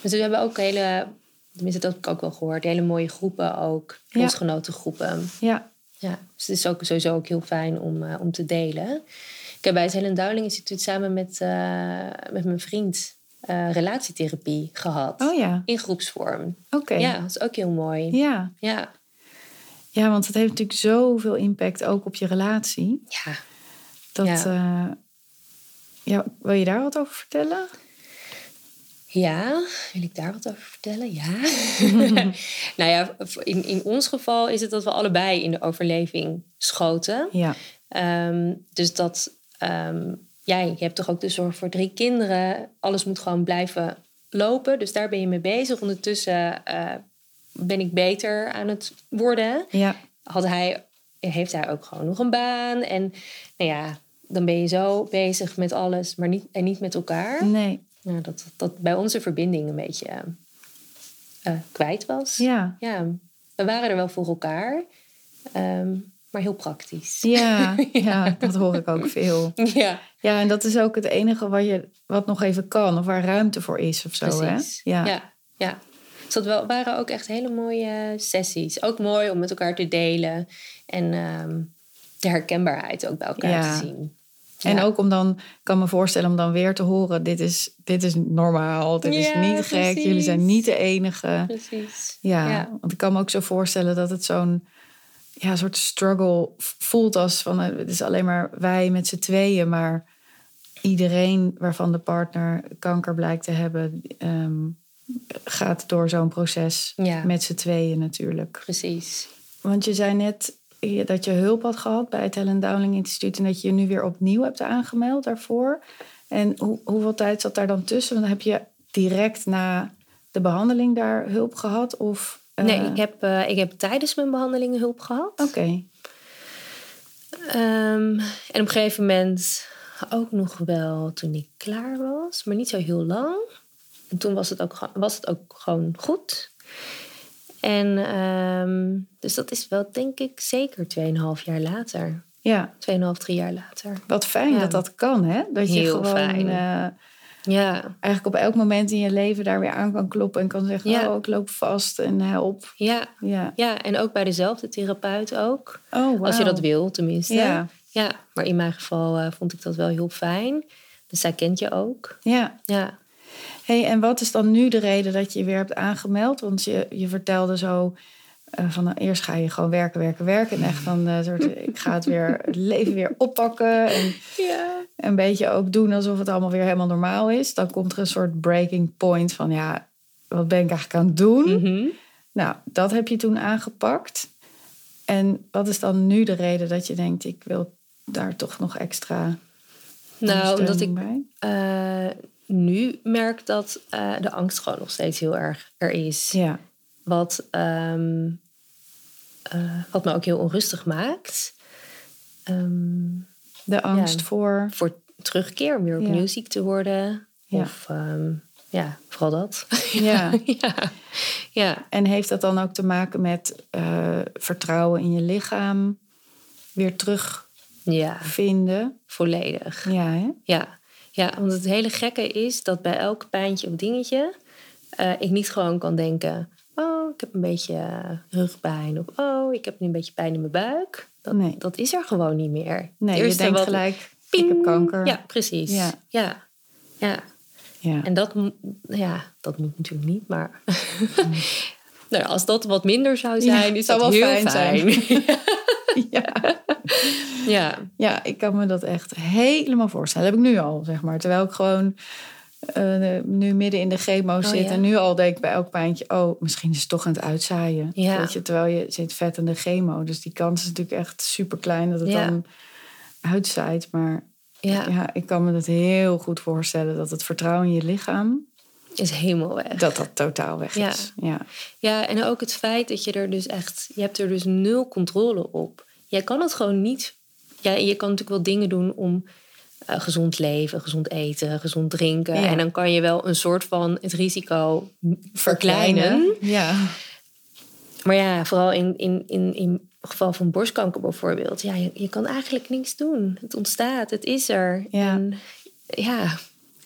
Speaker 2: Dus we hebben ook hele, tenminste dat heb ik ook wel gehoord, hele mooie groepen ook.
Speaker 1: Ja.
Speaker 2: Losgenotengroepen.
Speaker 1: Ja,
Speaker 2: Ja, dus het is ook sowieso ook heel fijn om, eh, om te delen. Ik heb bij het Helen Dowling Instituut samen met, eh, met mijn vriend eh, relatietherapie gehad.
Speaker 1: oh ja,
Speaker 2: In groepsvorm.
Speaker 1: oké.
Speaker 2: Ja, dat is ook heel mooi.
Speaker 1: Ja.
Speaker 2: Ja,
Speaker 1: ja, want het heeft natuurlijk zoveel impact ook op je relatie.
Speaker 2: ja.
Speaker 1: Dat,
Speaker 2: Ja.
Speaker 1: eh, ja, wil je daar wat over vertellen?
Speaker 2: Ja, wil ik daar wat over vertellen?
Speaker 1: [laughs]
Speaker 2: Ja. nou ja, in, in ons geval is het dat we allebei in de overleving schoten.
Speaker 1: Ja,
Speaker 2: Ehm, dus dat, ehm, ja, je hebt toch ook de zorg voor drie kinderen. Alles moet gewoon blijven lopen. Dus daar ben je mee bezig. Ondertussen eh, ben ik beter aan het worden.
Speaker 1: ja,
Speaker 2: Had hij, heeft hij ook gewoon nog een baan. En nou ja, dan ben je zo bezig met alles, maar niet, en niet met elkaar.
Speaker 1: nee,
Speaker 2: Nou, dat, dat bij onze verbinding een beetje eh, kwijt was.
Speaker 1: ja.
Speaker 2: Ja, we waren er wel voor elkaar, ehm, maar heel praktisch. [laughs]
Speaker 1: Ja, ja, dat hoor ik ook veel.
Speaker 2: Ja,
Speaker 1: Ja, en dat is ook het enige wat, je, wat nog even kan of waar ruimte voor is of zo.
Speaker 2: precies.
Speaker 1: Hè?
Speaker 2: Ja. ja, Dus dat wel- waren ook echt hele mooie sessies. Ook mooi om met elkaar te delen en ehm, de herkenbaarheid ook bij elkaar
Speaker 1: Ja.
Speaker 2: te zien.
Speaker 1: En
Speaker 2: Ja.
Speaker 1: ook om dan, ik kan me voorstellen om dan weer te horen: dit is, dit is normaal, dit is
Speaker 2: Ja,
Speaker 1: niet gek,
Speaker 2: precies.
Speaker 1: jullie zijn niet de enige.
Speaker 2: Precies.
Speaker 1: Ja,
Speaker 2: Ja.
Speaker 1: want ik kan me ook zo voorstellen dat het zo'n ja, een soort struggle voelt als van eh, het is alleen maar wij met z'n tweeën, maar iedereen waarvan de partner kanker blijkt te hebben, ehm, gaat door zo'n proces
Speaker 2: Ja.
Speaker 1: met z'n tweeën natuurlijk.
Speaker 2: Precies.
Speaker 1: Want je zei net eh, dat je hulp had gehad bij het Helen Dowling Instituut en dat je je nu weer opnieuw hebt aangemeld daarvoor. En hoe, hoeveel tijd zat daar dan tussen? Want heb je direct na de behandeling daar hulp gehad? Of, eh,
Speaker 2: Nee, ik heb, eh, ik heb tijdens mijn behandelingen hulp gehad.
Speaker 1: Oké,
Speaker 2: Ehm, en op een gegeven moment ook nog wel toen ik klaar was, maar niet zo heel lang. En toen was het ook, ge- was het ook gewoon goed. En ehm, dus dat is wel, denk ik, zeker 2,5 jaar later.
Speaker 1: ja.
Speaker 2: 2,5, 3 jaar later.
Speaker 1: Wat fijn
Speaker 2: Ja.
Speaker 1: dat dat kan, hè? Dat je
Speaker 2: Heel
Speaker 1: gewoon
Speaker 2: fijn.
Speaker 1: eh,
Speaker 2: Ja,
Speaker 1: eigenlijk op elk moment in je leven daar weer aan kan kloppen en kan zeggen:
Speaker 2: Ja.
Speaker 1: Oh, ik loop vast en help.
Speaker 2: ja,
Speaker 1: Ja.
Speaker 2: ja. En ook bij dezelfde therapeut ook.
Speaker 1: Oh,
Speaker 2: Als je
Speaker 1: wauw.
Speaker 2: dat wil, tenminste.
Speaker 1: Ja.
Speaker 2: ja maar in mijn geval eh, vond ik dat wel heel fijn. Dus zij kent je ook.
Speaker 1: Ja.
Speaker 2: Ja.
Speaker 1: Hey, en wat is dan nu de reden dat je je weer hebt aangemeld? Want je, je vertelde zo. eh, van nou, eerst ga je gewoon werken, werken, werken. En echt van eh,
Speaker 2: [laughs]
Speaker 1: soort, ik ga het weer het leven weer oppakken. En
Speaker 2: Ja.
Speaker 1: een beetje ook doen alsof het allemaal weer helemaal normaal is. Dan komt er een soort breaking point van ja, wat ben ik eigenlijk aan het doen?
Speaker 2: Mhm.
Speaker 1: Nou, dat heb je toen aangepakt. En wat is dan nu de reden dat je denkt, ik wil daar toch nog extra
Speaker 2: Nou, omdat ik
Speaker 1: ondersteuning bij?
Speaker 2: eh, nu merk dat eh, de angst gewoon nog steeds heel erg er is.
Speaker 1: Ja,
Speaker 2: Wat, ehm, eh, wat me ook heel onrustig maakt. Ehm,
Speaker 1: de angst
Speaker 2: Ja.
Speaker 1: voor...
Speaker 2: voor terugkeer, om weer
Speaker 1: Ja.
Speaker 2: opnieuw ziek te worden.
Speaker 1: Ja.
Speaker 2: Of ehm, ja, vooral dat.
Speaker 1: Ja.
Speaker 2: ja. [laughs] ja.
Speaker 1: En heeft dat dan ook te maken met eh, vertrouwen in je lichaam? Weer terugvinden?
Speaker 2: Ja, volledig.
Speaker 1: Ja, hè?
Speaker 2: Ja. ja, want het hele gekke is dat bij elk pijntje of dingetje... eh, ik niet gewoon kan denken... oh, ik heb een beetje eh, rugpijn... of oh, ik heb nu een beetje pijn in mijn buik. Dat,
Speaker 1: Nee.
Speaker 2: dat is er gewoon niet meer. Het
Speaker 1: Nee, je
Speaker 2: eerste
Speaker 1: denkt
Speaker 2: wat-
Speaker 1: gelijk,
Speaker 2: ping.
Speaker 1: ik heb kanker.
Speaker 2: Ja, precies.
Speaker 1: Ja.
Speaker 2: Ja. Ja.
Speaker 1: Ja.
Speaker 2: En dat, mo- ja, dat moet natuurlijk niet, maar... [laughs] nou, als dat wat minder zou
Speaker 1: Mm. Ja,
Speaker 2: zijn, is
Speaker 1: zou
Speaker 2: dat
Speaker 1: wel
Speaker 2: heel
Speaker 1: fijn
Speaker 2: fijn. [laughs]
Speaker 1: zijn. [laughs] ja.
Speaker 2: ja.
Speaker 1: Ja, ik kan me dat echt helemaal voorstellen. Dat heb ik nu al, zeg maar. Terwijl ik gewoon eh, nu midden in de chemo zit.
Speaker 2: Oh, ja.
Speaker 1: En nu al denk ik bij elk pijntje... oh, misschien is het toch aan het uitzaaien.
Speaker 2: Ja.
Speaker 1: Weet je, terwijl je zit vet in de chemo. Dus die kans is natuurlijk echt super klein dat het
Speaker 2: Ja.
Speaker 1: dan uitzaait. Maar ja.
Speaker 2: ja,
Speaker 1: ik kan me dat heel goed voorstellen... dat het vertrouwen in je lichaam,
Speaker 2: is helemaal weg.
Speaker 1: dat dat totaal weg
Speaker 2: Ja.
Speaker 1: is. Ja,
Speaker 2: Ja, en ook het feit dat je er dus echt, je hebt er dus nul controle op. Jij kan het gewoon niet. Ja, je kan natuurlijk wel dingen doen om eh, gezond leven, gezond eten, gezond drinken.
Speaker 1: Ja.
Speaker 2: En dan kan je wel een soort van het risico m- verkleinen.
Speaker 1: Ja,
Speaker 2: Maar ja, vooral in, in, in, in het geval van borstkanker bijvoorbeeld. Ja, je, je kan eigenlijk niks doen. Het ontstaat, het is er.
Speaker 1: Ja.
Speaker 2: En, ja.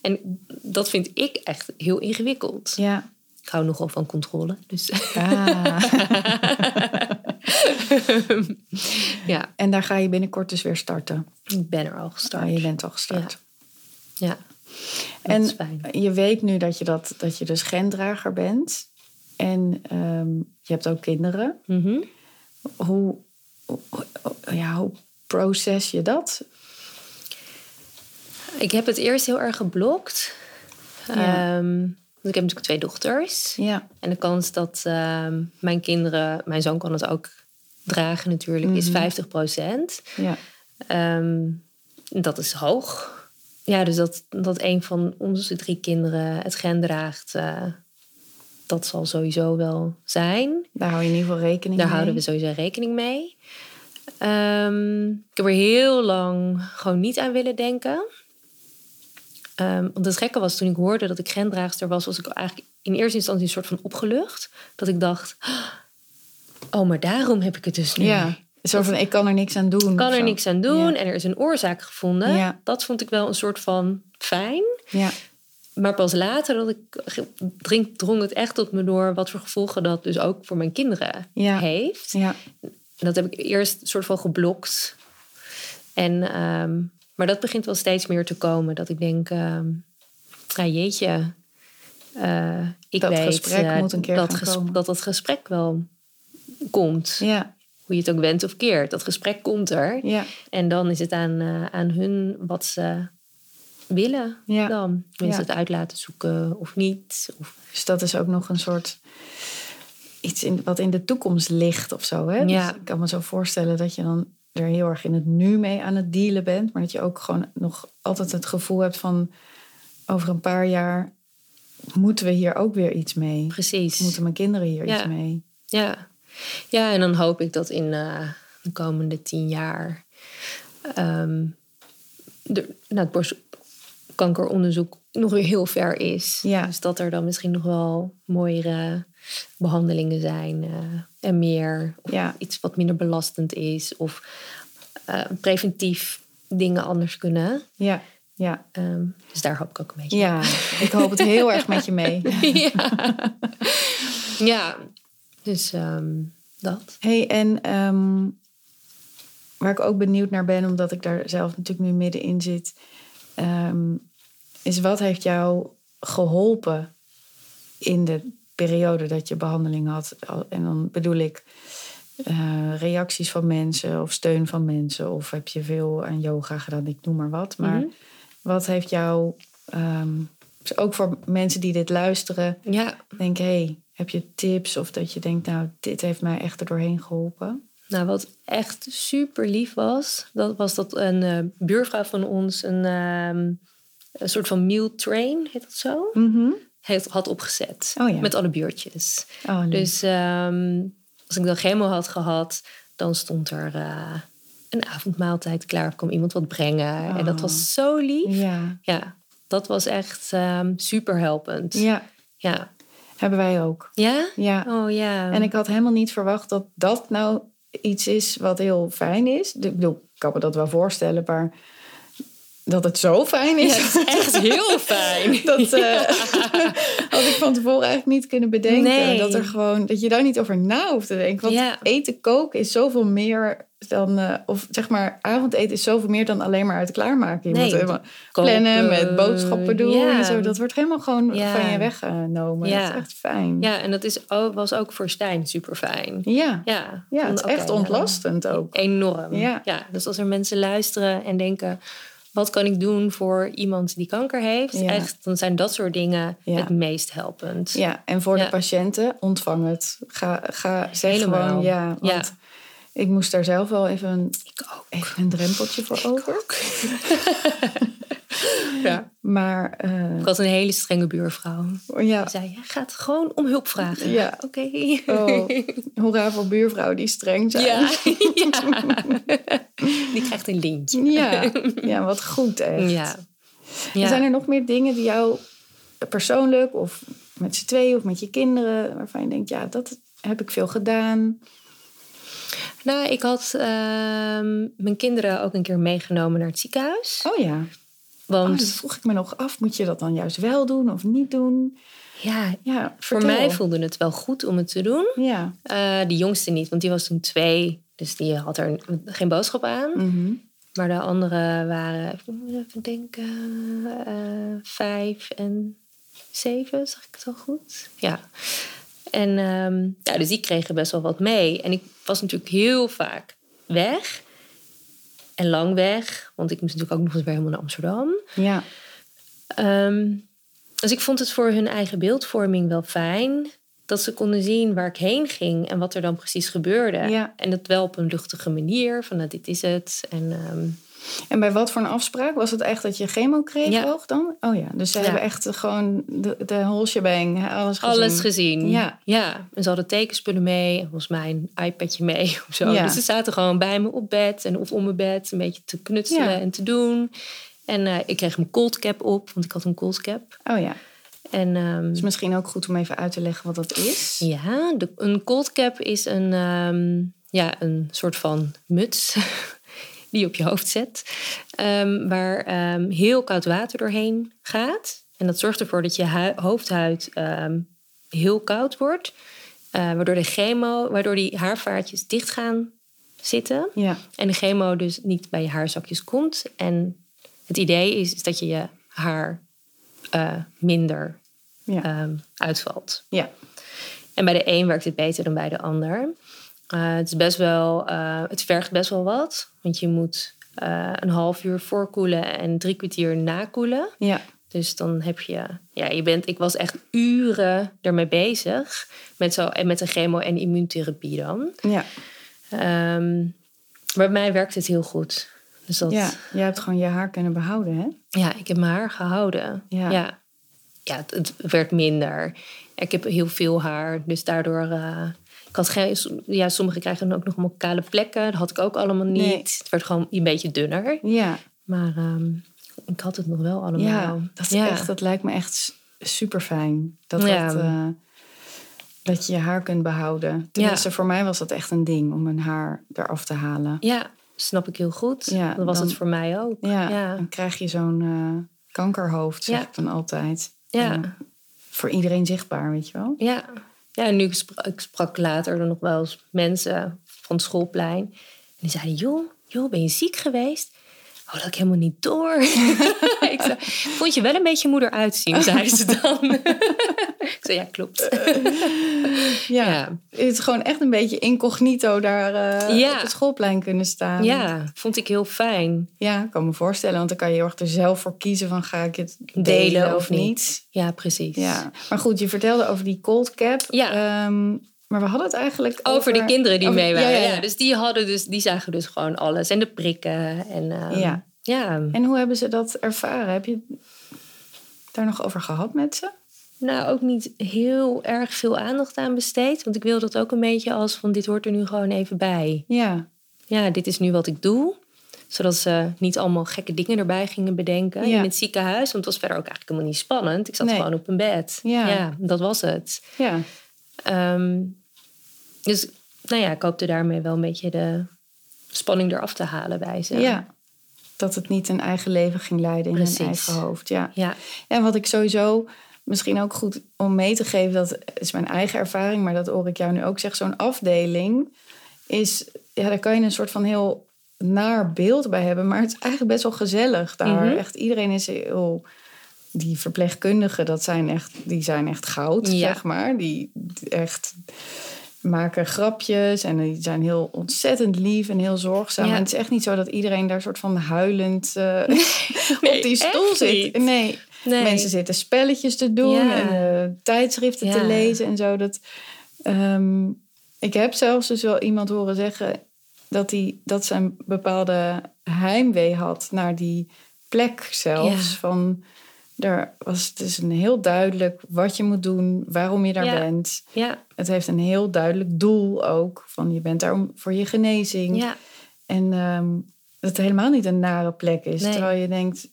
Speaker 2: en dat vind ik echt heel ingewikkeld.
Speaker 1: ja.
Speaker 2: Ik hou nogal van controle. Dus
Speaker 1: Ah.
Speaker 2: [laughs] ja.
Speaker 1: en daar ga je binnenkort dus weer starten.
Speaker 2: Ik ben er al
Speaker 1: Oh,
Speaker 2: gestart.
Speaker 1: je bent al gestart.
Speaker 2: Ja. Ja. Dat is
Speaker 1: En
Speaker 2: fijn.
Speaker 1: je weet nu dat je, dat, dat je dus gendrager bent. En ehm, je hebt ook kinderen.
Speaker 2: Mhm.
Speaker 1: Hoe, hoe- hoe- ja, hoe proces je dat?
Speaker 2: Ik heb het eerst heel erg geblokt.
Speaker 1: Ja.
Speaker 2: Ehm, want ik heb natuurlijk twee dochters.
Speaker 1: Ja.
Speaker 2: En de kans dat ehm, mijn kinderen, mijn zoon kan het ook dragen natuurlijk, is
Speaker 1: Mhm.
Speaker 2: 50 procent. Ehm,
Speaker 1: ja.
Speaker 2: dat is hoog. Ja, dus dat, dat een van onze drie kinderen het gen draagt, eh, dat zal sowieso wel zijn.
Speaker 1: Daar hou je in ieder geval rekening
Speaker 2: Daar
Speaker 1: mee.
Speaker 2: houden we sowieso rekening mee. Ehm, ik heb er heel lang gewoon niet aan willen denken. Ehm want het gekke was, toen ik hoorde dat ik gendraagster was... was ik eigenlijk in eerste instantie een soort van opgelucht. Dat ik dacht, oh, maar daarom heb ik het dus nu.
Speaker 1: Ja. Een soort van, ik kan er niks aan doen.
Speaker 2: Ik kan
Speaker 1: of
Speaker 2: er
Speaker 1: zo.
Speaker 2: niks aan doen
Speaker 1: Ja.
Speaker 2: en er is een oorzaak gevonden.
Speaker 1: Ja.
Speaker 2: Dat vond ik wel een soort van fijn.
Speaker 1: Ja.
Speaker 2: Maar pas later dat ik, drink, drong het echt op me door... wat voor gevolgen dat dus ook voor mijn kinderen
Speaker 1: Ja.
Speaker 2: heeft.
Speaker 1: Ja.
Speaker 2: En dat heb ik eerst een soort van geblokt. En, ehm, maar dat begint wel steeds meer te komen. Dat ik denk, ehm ah, jeetje. eh, ik
Speaker 1: Dat
Speaker 2: weet
Speaker 1: gesprek
Speaker 2: eh,
Speaker 1: moet een keer
Speaker 2: dat,
Speaker 1: gaan komen.
Speaker 2: dat dat gesprek wel komt.
Speaker 1: ja.
Speaker 2: hoe je het ook bent of keert. Dat gesprek komt er.
Speaker 1: Ja.
Speaker 2: En dan is het aan, eh, aan hun wat ze willen
Speaker 1: Ja.
Speaker 2: dan. Mensen
Speaker 1: Ja.
Speaker 2: het uit laten zoeken of niet. Of,
Speaker 1: Dus dat is ook nog een soort iets in, wat in de toekomst ligt of zo. Hè?
Speaker 2: Ja.
Speaker 1: Dus ik kan me zo voorstellen dat je dan er heel erg in het nu mee aan het dealen bent. Maar dat je ook gewoon nog altijd het gevoel hebt van over een paar jaar moeten we hier ook weer iets mee.
Speaker 2: precies.
Speaker 1: Moeten mijn kinderen hier
Speaker 2: Ja.
Speaker 1: iets mee?
Speaker 2: Ja. ja, en dan hoop ik dat in eh, de komende tien jaar ehm, de, nou, het borstkankeronderzoek nog weer heel ver is.
Speaker 1: Ja.
Speaker 2: Dus dat er dan misschien nog wel mooiere behandelingen zijn eh, en meer. Of
Speaker 1: Ja.
Speaker 2: iets wat minder belastend is. Of eh, preventief dingen anders kunnen.
Speaker 1: Ja, ja,
Speaker 2: Ehm, dus daar hoop ik ook een beetje
Speaker 1: ja. Ik hoop het heel erg met je mee.
Speaker 2: ja. ja, dus ehm, dat.
Speaker 1: hey, en ehm, waar ik ook benieuwd naar ben, omdat ik daar zelf natuurlijk nu middenin zit, ehm, is wat heeft jou geholpen in de periode dat je behandeling had? Al- En dan bedoel ik eh, reacties van mensen of steun van mensen, of heb je veel aan yoga gedaan, ik noem maar wat. Maar
Speaker 2: Mhm.
Speaker 1: wat heeft jou, ehm, dus ook voor mensen die dit luisteren,
Speaker 2: Ja,
Speaker 1: denk, hé, hey, heb je tips? Of dat je denkt, nou, dit heeft mij echt er doorheen geholpen.
Speaker 2: nou wat echt super lief was, dat was dat een eh, buurvrouw van ons een, ehm, een soort van meal train, heet dat zo? Heeft, had opgezet
Speaker 1: Oh ja.
Speaker 2: met alle buurtjes.
Speaker 1: Oh, lief.
Speaker 2: Dus ehm, als ik dan chemo had gehad, dan stond er eh, een avondmaaltijd klaar. Of kwam iemand wat brengen. En dat
Speaker 1: Oh.
Speaker 2: was zo lief.
Speaker 1: Ja.
Speaker 2: Ja, dat was echt super helpend.
Speaker 1: ja,
Speaker 2: ja.
Speaker 1: hebben wij ook.
Speaker 2: Ja?
Speaker 1: Ja.
Speaker 2: Oh ja.
Speaker 1: En ik had helemaal niet verwacht dat dat nou iets is wat heel fijn is. De- Ik bedoel, ik kan me dat wel voorstellen, maar dat het zo fijn
Speaker 2: Ja,
Speaker 1: is.
Speaker 2: het is echt
Speaker 1: [laughs]
Speaker 2: heel fijn.
Speaker 1: Dat eh, [laughs] had ik van tevoren eigenlijk niet kunnen bedenken.
Speaker 2: Nee.
Speaker 1: Dat, er gewoon, dat je daar niet over na hoeft te denken. Want
Speaker 2: Ja.
Speaker 1: eten koken is zoveel meer dan... eh, of zeg maar, avondeten is zoveel meer dan alleen maar uit klaarmaken. Je
Speaker 2: Nee,
Speaker 1: moet helemaal
Speaker 2: koken,
Speaker 1: plannen met boodschappen doen
Speaker 2: ja.
Speaker 1: en zo. Dat wordt helemaal gewoon
Speaker 2: Ja.
Speaker 1: van je weggenomen.
Speaker 2: Ja.
Speaker 1: Dat is echt fijn.
Speaker 2: Ja, en dat is, ook- was ook voor Stijn super fijn.
Speaker 1: ja.
Speaker 2: Ja,
Speaker 1: Ja, het
Speaker 2: want,
Speaker 1: is
Speaker 2: oké,
Speaker 1: echt
Speaker 2: nou,
Speaker 1: ontlastend ook.
Speaker 2: Enorm.
Speaker 1: Ja.
Speaker 2: dus als er mensen luisteren en denken... wat kan ik doen voor iemand die kanker heeft?
Speaker 1: Ja.
Speaker 2: Echt, dan zijn dat soort dingen
Speaker 1: Ja.
Speaker 2: het meest helpend.
Speaker 1: Ja, en voor
Speaker 2: Ja.
Speaker 1: de patiënten, ontvang het. Ga, ga zeg
Speaker 2: Helemaal.
Speaker 1: gewoon ja.
Speaker 2: Ja.
Speaker 1: Want ik moest daar zelf wel even een,
Speaker 2: Ik ook.
Speaker 1: even een drempeltje voor over. [laughs]
Speaker 2: Ja.
Speaker 1: Maar eh,
Speaker 2: Ik had een hele strenge buurvrouw.
Speaker 1: ja,
Speaker 2: [laughs] Die zei, jij gaat gewoon om hulp vragen.
Speaker 1: Ja.
Speaker 2: Oké.
Speaker 1: oh, hoera voor buurvrouwen die streng zijn.
Speaker 2: Ja. [laughs] ja. Die krijgt een lintje. [laughs]
Speaker 1: ja, ja, wat goed echt.
Speaker 2: Ja.
Speaker 1: En
Speaker 2: ja.
Speaker 1: Zijn er nog meer dingen die jou persoonlijk of met z'n tweeën of met je kinderen... waarvan je denkt, ja, dat heb ik veel gedaan.
Speaker 2: Nou, ik had ehm, mijn kinderen ook een keer meegenomen naar het ziekenhuis.
Speaker 1: Oh ja, oh,
Speaker 2: want
Speaker 1: dat vroeg ik me nog af. Moet je dat dan juist wel doen of niet doen?
Speaker 2: ja,
Speaker 1: Ja,
Speaker 2: voor
Speaker 1: vertel.
Speaker 2: mij voelde het wel goed om het te doen.
Speaker 1: Ja.
Speaker 2: Eh de jongste niet, want die was toen twee. Dus die had er geen boodschap aan.
Speaker 1: Mhm.
Speaker 2: Maar de anderen waren, ik moet even denken, eh, vijf en zeven, zag ik het al goed? Ja. En ehm, ja, dus die kregen best wel wat mee. En ik was natuurlijk heel vaak weg. En lang weg, want ik moest natuurlijk ook nog eens weer helemaal naar Amsterdam.
Speaker 1: Ja,
Speaker 2: Ehm, dus ik vond het voor hun eigen beeldvorming wel fijn. Dat ze konden zien waar ik heen ging en wat er dan precies gebeurde.
Speaker 1: Ja.
Speaker 2: En dat wel op een luchtige manier. Van nou, dit is het. En ehm,
Speaker 1: en bij wat voor een afspraak? Was het echt dat je chemo kreeg
Speaker 2: Ja.
Speaker 1: ook dan? Oh ja, dus ze
Speaker 2: Ja.
Speaker 1: hebben echt gewoon de, de whole shebang, hè, alles gezien.
Speaker 2: Alles gezien.
Speaker 1: Ja.
Speaker 2: ja. En ze hadden tekenspullen mee. En volgens mij een iPadje mee [laughs] of zo.
Speaker 1: Ja.
Speaker 2: Dus ze zaten gewoon bij me op bed. En of om mijn bed. Een beetje te knutselen
Speaker 1: Ja.
Speaker 2: en te doen. En eh, ik kreeg mijn cold cap op. Want ik had een cold cap.
Speaker 1: Oh ja,
Speaker 2: En ehm,
Speaker 1: dus misschien ook goed om even uit te leggen wat dat is.
Speaker 2: ja, de, een cold cap is een, ehm, ja, een soort van muts. [laughs] die je op je hoofd zet. ehm, waar ehm, heel koud water doorheen gaat. En dat zorgt ervoor dat je hui- hoofdhuid ehm, heel koud wordt. eh, waardoor de chemo, waardoor die haarvaartjes dicht gaan zitten.
Speaker 1: Ja,
Speaker 2: En de chemo dus niet bij je haarzakjes komt. En het idee is, is dat je je haar eh, minder
Speaker 1: ja,
Speaker 2: ehm, uitvalt.
Speaker 1: ja.
Speaker 2: En bij de een werkt het beter dan bij de ander. Eh, het, is best wel, eh, het vergt best wel wat. Want je moet eh, een half uur voorkoelen en drie kwartier nakoelen.
Speaker 1: Ja.
Speaker 2: Dus dan heb je, ja, je bent, ik was echt uren ermee bezig. Met, zo, en met de chemo en immuuntherapie dan.
Speaker 1: Ja.
Speaker 2: Ehm, maar bij mij werkt het heel goed. Dus dat,
Speaker 1: ja. Jij hebt gewoon je haar kunnen behouden, hè?
Speaker 2: ja, ik heb mijn haar gehouden.
Speaker 1: Ja.
Speaker 2: ja. Ja, het, het werd minder. Ik heb heel veel haar, dus daardoor... eh, ik had geen, ja, sommigen krijgen dan ook nog allemaal kale plekken. Dat had ik ook allemaal niet.
Speaker 1: Nee.
Speaker 2: Het werd gewoon een beetje dunner.
Speaker 1: Ja.
Speaker 2: Maar ehm, ik had het nog wel allemaal.
Speaker 1: Ja, dat, is Echt, dat lijkt me echt super fijn. Dat,
Speaker 2: Ja.
Speaker 1: dat, eh, dat je je haar kunt behouden. Tenminste, voor mij was dat echt een ding om mijn haar eraf te halen.
Speaker 2: Ja, snap ik heel goed.
Speaker 1: Ja,
Speaker 2: dat was
Speaker 1: dan-
Speaker 2: het voor mij ook.
Speaker 1: Ja,
Speaker 2: Ja.
Speaker 1: dan krijg je zo'n eh, kankerhoofd, zeg
Speaker 2: Ja.
Speaker 1: ik dan altijd.
Speaker 2: Ja.
Speaker 1: En voor iedereen zichtbaar, weet je wel.
Speaker 2: Ja, ja en nu ik sprak, ik sprak later dan nog wel eens mensen van het schoolplein. En die zeiden, joh, joh, ben je ziek geweest? Oh, dat had ik helemaal niet door. [laughs] ik zei, vond je wel een beetje moeder uitzien, zei ze dan. [laughs] ik zei, ja, klopt.
Speaker 1: Ja.
Speaker 2: Ja.
Speaker 1: Het is gewoon echt een beetje incognito daar eh,
Speaker 2: Ja.
Speaker 1: op het schoolplein kunnen staan.
Speaker 2: ja, vond ik heel fijn.
Speaker 1: Ja, ik kan me voorstellen. Want dan kan je heel erg er zelf voor kiezen van ga ik het delen,
Speaker 2: Delen
Speaker 1: of,
Speaker 2: of
Speaker 1: niet.
Speaker 2: Ja, precies.
Speaker 1: Ja, maar goed, je vertelde over die cold cap.
Speaker 2: Ja.
Speaker 1: Ehm, maar we hadden het eigenlijk over...
Speaker 2: Over, de kinderen die
Speaker 1: over-
Speaker 2: mee waren. Ja,
Speaker 1: ja, ja.
Speaker 2: dus die hadden dus, die zagen dus gewoon alles. En de prikken. En, ehm,
Speaker 1: Ja.
Speaker 2: ja,
Speaker 1: En hoe hebben ze dat ervaren? Heb je het daar nog over gehad met ze?
Speaker 2: nou ook niet heel erg veel aandacht aan besteed. Want ik wil dat ook een beetje als van dit hoort er nu gewoon even bij.
Speaker 1: Ja.
Speaker 2: Ja, dit is nu wat ik doe. Zodat ze niet allemaal gekke dingen erbij gingen bedenken
Speaker 1: Ja.
Speaker 2: in het ziekenhuis. Want het was verder ook eigenlijk helemaal niet spannend. Ik zat
Speaker 1: Nee.
Speaker 2: gewoon op een bed.
Speaker 1: Ja.
Speaker 2: dat was het.
Speaker 1: Ja.
Speaker 2: Ehm, dus nou ja, ik hoopte daarmee wel een beetje de spanning eraf te halen bij ze.
Speaker 1: ja. Dat het niet een eigen leven ging leiden in
Speaker 2: Precies.
Speaker 1: hun eigen hoofd. Ja.
Speaker 2: Ja,
Speaker 1: En wat ik sowieso misschien ook goed om mee te geven, dat is mijn eigen ervaring, maar dat hoor ik jou nu ook zeg, zo'n afdeling is, ja, daar kan je een soort van heel naar beeld bij hebben, maar het is eigenlijk best wel gezellig daar.
Speaker 2: Mhm.
Speaker 1: Echt iedereen is heel. Die verpleegkundigen, dat zijn echt, die zijn echt goud,
Speaker 2: Ja.
Speaker 1: zeg maar. Die echt maken grapjes en die zijn heel ontzettend lief en heel zorgzaam.
Speaker 2: Ja.
Speaker 1: En het is echt niet zo dat iedereen daar soort van huilend eh,
Speaker 2: [laughs]
Speaker 1: op die
Speaker 2: Nee,
Speaker 1: stoel
Speaker 2: echt
Speaker 1: zit.
Speaker 2: niet.
Speaker 1: Nee,
Speaker 2: nee.
Speaker 1: Mensen zitten spelletjes te doen
Speaker 2: Ja.
Speaker 1: en eh, tijdschriften te
Speaker 2: Ja.
Speaker 1: lezen en zo. Dat, ehm, ik heb zelfs dus wel iemand horen zeggen dat, die, dat ze een bepaalde heimwee had naar die plek zelfs.
Speaker 2: Ja.
Speaker 1: Van, er was het dus een heel duidelijk wat je moet doen, waarom je daar
Speaker 2: Ja.
Speaker 1: bent.
Speaker 2: Ja,
Speaker 1: Het heeft een heel duidelijk doel ook. Van je bent daar om, voor je genezing.
Speaker 2: ja,
Speaker 1: En ehm, dat het helemaal niet een nare plek is.
Speaker 2: Nee.
Speaker 1: Terwijl je denkt...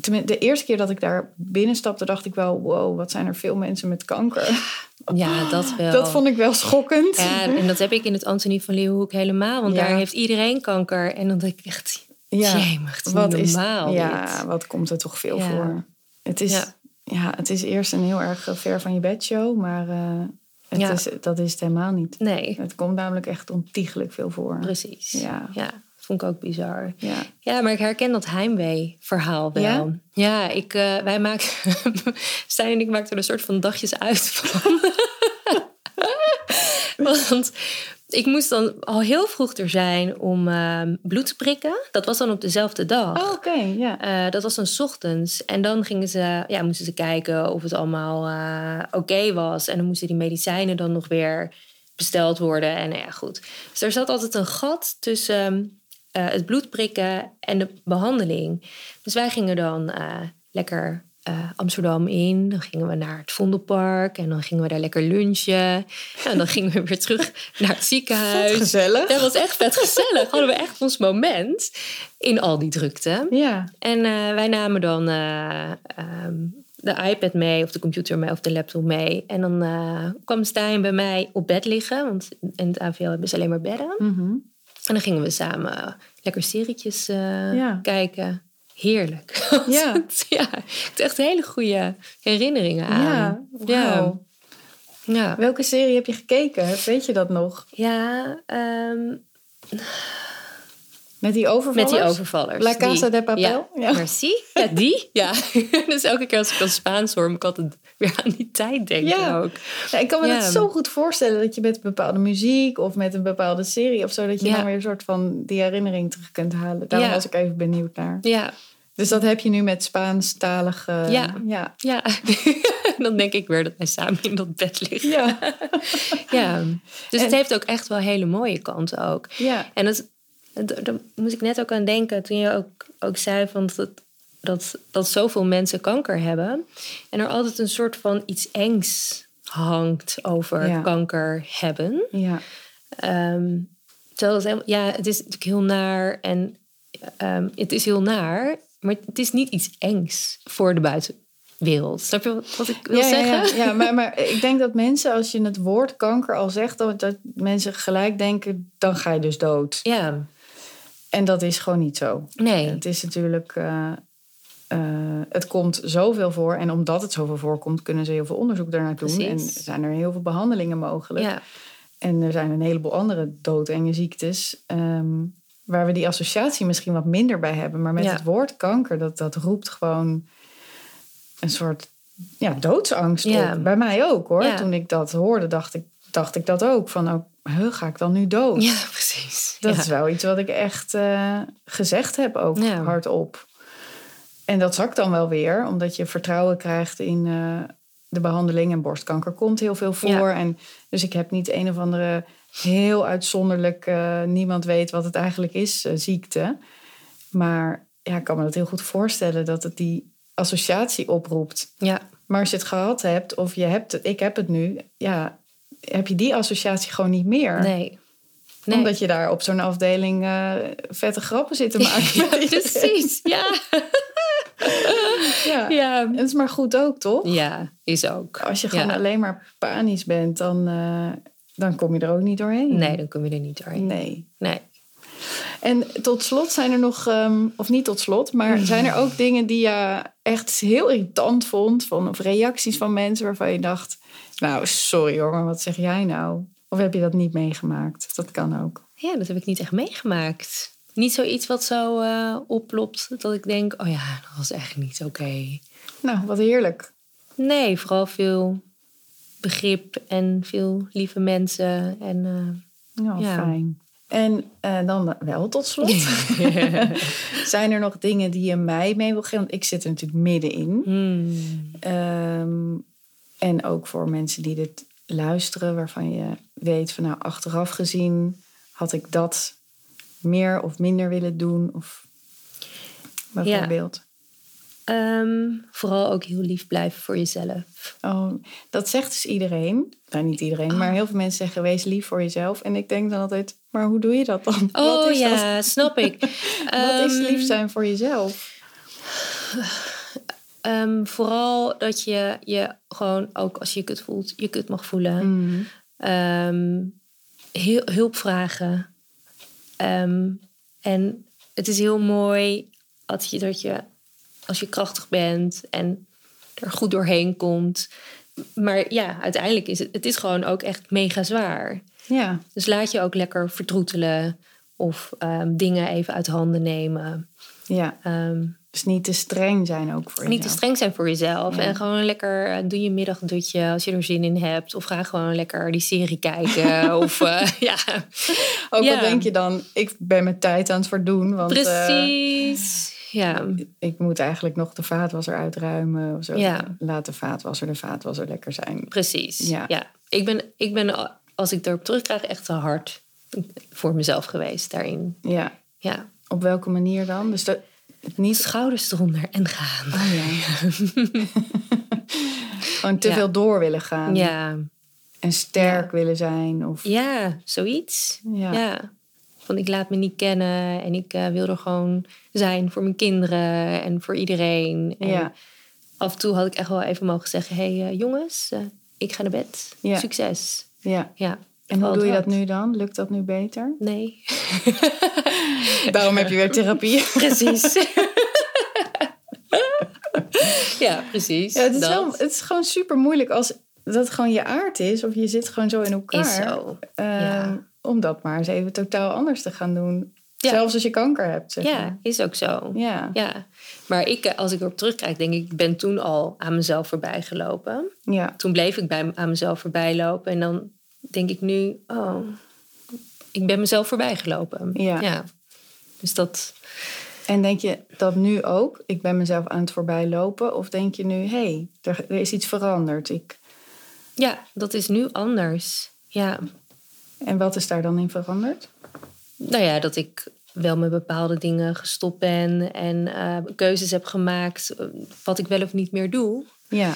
Speaker 1: Tenminste, de eerste keer dat ik daar binnenstapte, dacht ik wel... wow, wat zijn er veel mensen met kanker.
Speaker 2: ja, dat wel.
Speaker 1: Oh, Dat vond ik wel schokkend.
Speaker 2: Ja, en dat heb ik in het Antonie van Leeuwenhoek helemaal. Want
Speaker 1: Ja.
Speaker 2: daar heeft iedereen kanker. En dan denk ik echt,
Speaker 1: Ja,
Speaker 2: jemig, het is wat
Speaker 1: is-
Speaker 2: normaal
Speaker 1: ja,
Speaker 2: dit.
Speaker 1: wat komt er toch veel
Speaker 2: Ja.
Speaker 1: voor. Het is, ja.
Speaker 2: Ja.
Speaker 1: het is eerst een heel erg eh, ver van je bed show, maar eh, het
Speaker 2: Ja.
Speaker 1: is, dat is het helemaal niet.
Speaker 2: Nee,
Speaker 1: Het komt namelijk echt ontiegelijk veel voor.
Speaker 2: precies.
Speaker 1: Ja.
Speaker 2: dat vond ik ook bizar.
Speaker 1: Ja.
Speaker 2: Ja, maar ik herken dat heimwee-verhaal wel.
Speaker 1: Ja?
Speaker 2: Ja, ik, eh, wij maken... [laughs] Stijn en ik maakten er een soort van dagjes uit van. [laughs] Want ik moest dan al heel vroeg er zijn om ehm, bloed te prikken. Dat was dan op dezelfde dag.
Speaker 1: Oh, Oké, ja.
Speaker 2: Eh, dat was dan 's ochtends. En dan gingen ze, ja, moesten ze kijken of het allemaal eh, oké was. En dan moesten die medicijnen dan nog weer besteld worden. En nou ja, goed. Dus er zat altijd een gat tussen eh, het bloed prikken en de behandeling. Dus wij gingen dan eh, lekker eh, Amsterdam in. Dan gingen we naar het Vondelpark. En dan gingen we daar lekker lunchen. En dan gingen we weer terug naar het
Speaker 1: Wat
Speaker 2: ziekenhuis.
Speaker 1: gezellig.
Speaker 2: Dat was echt vet gezellig. Hadden we echt ons moment in al die drukte.
Speaker 1: Ja,
Speaker 2: En eh, wij namen dan eh, ehm, de iPad mee, of de computer mee, of de laptop mee. En dan eh, kwam Stijn bij mij op bed liggen, want in het AVL hebben ze alleen maar bedden.
Speaker 1: Mhm.
Speaker 2: En dan gingen we samen lekker serietjes eh,
Speaker 1: Ja.
Speaker 2: kijken. Heerlijk. [laughs]
Speaker 1: Ja.
Speaker 2: ja. Ik heb echt hele goede herinneringen aan.
Speaker 1: ja.
Speaker 2: ja.
Speaker 1: wauw.
Speaker 2: ja.
Speaker 1: Welke serie heb je gekeken? Weet je dat nog?
Speaker 2: Ja, ehm,
Speaker 1: Met die overvallers?
Speaker 2: Met die overvallers.
Speaker 1: La Casa
Speaker 2: Die-
Speaker 1: de Papel?
Speaker 2: Ja.
Speaker 1: Ja.
Speaker 2: Merci. Ja, die? [laughs] Ja. dus elke keer als ik dat Spaans hoor, moet ik altijd weer aan die tijd denken
Speaker 1: Ja.
Speaker 2: ook.
Speaker 1: Ja, ik kan me
Speaker 2: Ja.
Speaker 1: dat zo goed voorstellen dat je met bepaalde muziek of met een bepaalde serie of zo, dat je
Speaker 2: Ja.
Speaker 1: dan weer een soort van die herinnering terug kunt halen. Daarom
Speaker 2: Ja.
Speaker 1: was ik even benieuwd naar.
Speaker 2: Ja,
Speaker 1: Dus dat heb je nu met Spaanstalige.
Speaker 2: Ja.
Speaker 1: ja.
Speaker 2: ja. [laughs] Dan denk ik weer dat wij samen in dat bed liggen.
Speaker 1: Ja.
Speaker 2: Ja. Dus het
Speaker 1: En-
Speaker 2: heeft ook echt wel hele mooie kanten ook.
Speaker 1: ja.
Speaker 2: En dat, dat- daar moest ik net ook aan denken toen je ook, ook zei van dat, dat, dat zoveel mensen kanker hebben. En er altijd een soort van iets engs hangt over
Speaker 1: Ja.
Speaker 2: kanker hebben.
Speaker 1: Ja.
Speaker 2: Ehm, terwijl het helemaal- ja, het is natuurlijk heel naar en ehm, het is heel naar, maar het is niet iets engs voor de buitenwereld. Snap je wat, wat ik wil
Speaker 1: ja,
Speaker 2: zeggen?
Speaker 1: ja, ja. Ja, maar, maar ik denk dat mensen, als je het woord kanker al zegt, dat, dat mensen gelijk denken, dan ga je dus dood.
Speaker 2: Ja,
Speaker 1: En dat is gewoon niet zo.
Speaker 2: nee.
Speaker 1: Het is natuurlijk, eh, eh, het komt zoveel voor. En omdat het zoveel voorkomt, kunnen ze heel veel onderzoek daarnaar doen.
Speaker 2: Precies.
Speaker 1: En zijn er heel veel behandelingen mogelijk.
Speaker 2: Ja,
Speaker 1: En er zijn een heleboel andere doodenge ziektes. ehm, waar we die associatie misschien wat minder bij hebben. Maar met
Speaker 2: Ja.
Speaker 1: het woord kanker, dat, dat roept gewoon een soort ja, doodsangst
Speaker 2: Ja.
Speaker 1: op. Bij mij ook hoor.
Speaker 2: Ja.
Speaker 1: Toen ik dat hoorde, dacht ik, dacht ik dat ook. Van, oh, huh, ga ik dan nu dood?
Speaker 2: ja precies.
Speaker 1: Dat
Speaker 2: ja.
Speaker 1: is wel iets wat ik echt eh, gezegd heb ook
Speaker 2: Ja.
Speaker 1: hardop. En dat zakt dan wel weer, omdat je vertrouwen krijgt in eh, de behandeling. En borstkanker komt heel veel voor.
Speaker 2: Ja.
Speaker 1: En, dus ik heb niet een of andere heel uitzonderlijk... eh, niemand weet wat het eigenlijk is, eh, ziekte. Maar ja, ik kan me dat heel goed voorstellen dat het die associatie oproept.
Speaker 2: ja.
Speaker 1: Maar als je het gehad hebt, of je hebt het, ik heb het nu... ja, heb je die associatie gewoon niet meer.
Speaker 2: nee. nee. [laughs]
Speaker 1: Omdat je daar op zo'n afdeling eh, vette grappen zit te [laughs] maken.
Speaker 2: Ja,
Speaker 1: met iedereen.
Speaker 2: precies, ja.
Speaker 1: Ja.
Speaker 2: ja.
Speaker 1: En het is maar goed ook, toch?
Speaker 2: Ja, is ook.
Speaker 1: Als je gewoon
Speaker 2: Ja.
Speaker 1: alleen maar panisch bent, dan, eh, dan kom je er ook niet doorheen.
Speaker 2: Nee, dan kom je er niet doorheen.
Speaker 1: Nee.
Speaker 2: Nee.
Speaker 1: En tot slot zijn er nog, ehm, of niet tot slot,
Speaker 2: Mhm.
Speaker 1: maar zijn er ook dingen die je echt heel irritant vond? Van, of reacties van mensen waarvan je dacht, nou sorry hoor, maar wat zeg jij nou? Of heb je dat niet meegemaakt? Dat kan ook.
Speaker 2: Ja, dat heb ik niet echt meegemaakt. Niet zoiets wat zo eh, oplopt dat ik denk, oh ja, dat was echt niet oké.
Speaker 1: Nou, wat heerlijk.
Speaker 2: Nee, vooral veel begrip en veel lieve mensen. En, eh,
Speaker 1: Ja,
Speaker 2: Ja.
Speaker 1: fijn. En eh, dan wel tot
Speaker 2: [laughs]
Speaker 1: slot. [laughs] Zijn er nog dingen die je mij mee wil geven? Want ik zit er natuurlijk middenin.
Speaker 2: hmm,
Speaker 1: Ehm, en ook voor mensen die dit luisteren, waarvan je weet van nou, achteraf gezien had ik dat meer of minder willen doen. Of bijvoorbeeld.
Speaker 2: ehm, vooral ook heel lief blijven voor jezelf.
Speaker 1: Oh, dat zegt dus iedereen. Nou, niet iedereen,
Speaker 2: Oh.
Speaker 1: maar heel veel mensen zeggen wees lief voor jezelf. En ik denk dan altijd, maar hoe doe je dat dan? Wat
Speaker 2: Oh
Speaker 1: is dat?
Speaker 2: ja, snap ik.
Speaker 1: [laughs] Wat is
Speaker 2: Ehm,
Speaker 1: lief zijn voor jezelf?
Speaker 2: ehm, vooral dat je je gewoon ook als je het voelt, je het mag voelen.
Speaker 1: Mm.
Speaker 2: Ehm, heel, hulp vragen. Ehm, en het is heel mooi dat je, dat je, als je krachtig bent en er goed doorheen komt. Maar ja, uiteindelijk is het, het is gewoon ook echt mega zwaar.
Speaker 1: Ja,
Speaker 2: Dus laat je ook lekker vertroetelen of ehm, dingen even uit handen nemen.
Speaker 1: ja.
Speaker 2: Ehm,
Speaker 1: Dus niet te streng zijn ook voor
Speaker 2: niet te
Speaker 1: jezelf.
Speaker 2: streng zijn voor jezelf.
Speaker 1: Ja.
Speaker 2: En gewoon lekker eh, doe je middagdutje als je er zin in hebt. Of ga gewoon lekker die serie [laughs] kijken. of eh, ja,
Speaker 1: Ook
Speaker 2: Ja.
Speaker 1: al Oh, denk je dan, ik ben mijn tijd aan het verdoen. Want eh,
Speaker 2: precies. ja,
Speaker 1: ik moet eigenlijk nog de vaatwasser uitruimen. Of zo.
Speaker 2: Ja.
Speaker 1: Laat de vaatwasser de vaatwasser lekker zijn.
Speaker 2: precies.
Speaker 1: Ja.
Speaker 2: Ja. Ik, ben, ik ben, als ik erop terugkrijg, echt te hard voor mezelf geweest daarin.
Speaker 1: Ja,
Speaker 2: Ja,
Speaker 1: op welke manier dan? Dus dat, het niet
Speaker 2: schouders eronder en gaan.
Speaker 1: oh, ja. gewoon te
Speaker 2: Ja.
Speaker 1: veel door willen gaan.
Speaker 2: Ja,
Speaker 1: En sterk willen zijn. Of,
Speaker 2: ja zoiets.
Speaker 1: Ja.
Speaker 2: Ja. Van ik laat me niet kennen en ik eh, wil er gewoon zijn voor mijn kinderen en voor iedereen. En
Speaker 1: ja.
Speaker 2: af en toe had ik echt wel even mogen zeggen: hé hey, eh, jongens, eh, ik ga naar bed.
Speaker 1: Ja.
Speaker 2: Succes.
Speaker 1: ja.
Speaker 2: Ja.
Speaker 1: En hoe
Speaker 2: Vooral
Speaker 1: doe je dat
Speaker 2: dat.
Speaker 1: nu dan? Lukt dat nu beter?
Speaker 2: Nee. [laughs]
Speaker 1: Daarom heb je weer [laughs] therapie.
Speaker 2: Precies. ja, precies.
Speaker 1: Ja, het, is
Speaker 2: Dat
Speaker 1: wel, het is gewoon super moeilijk als dat gewoon je aard is. Of je zit gewoon zo in elkaar.
Speaker 2: is zo.
Speaker 1: Eh,
Speaker 2: Ja.
Speaker 1: Om dat maar eens even totaal anders te gaan doen.
Speaker 2: Ja.
Speaker 1: Zelfs als je kanker hebt. Zeg
Speaker 2: Ja,
Speaker 1: maar.
Speaker 2: is ook zo.
Speaker 1: ja.
Speaker 2: Ja, maar ik, eh, als ik erop terugkijk, denk ik, ik ben toen al aan mezelf voorbij gelopen.
Speaker 1: ja.
Speaker 2: Toen bleef ik bij, aan mezelf voorbij lopen. En dan denk ik nu, oh, ik ben mezelf voorbij gelopen.
Speaker 1: Ja.
Speaker 2: Dus dat,
Speaker 1: En denk je dat nu ook? Ik ben mezelf aan het voorbij lopen. Of denk je nu, hé, hey, er, er is iets veranderd. Ik,
Speaker 2: ja, dat is nu anders. Ja.
Speaker 1: en wat is daar dan in veranderd?
Speaker 2: Nou ja, dat ik wel met bepaalde dingen gestopt ben en eh, keuzes heb gemaakt eh, wat ik wel of niet meer doe.
Speaker 1: Ja,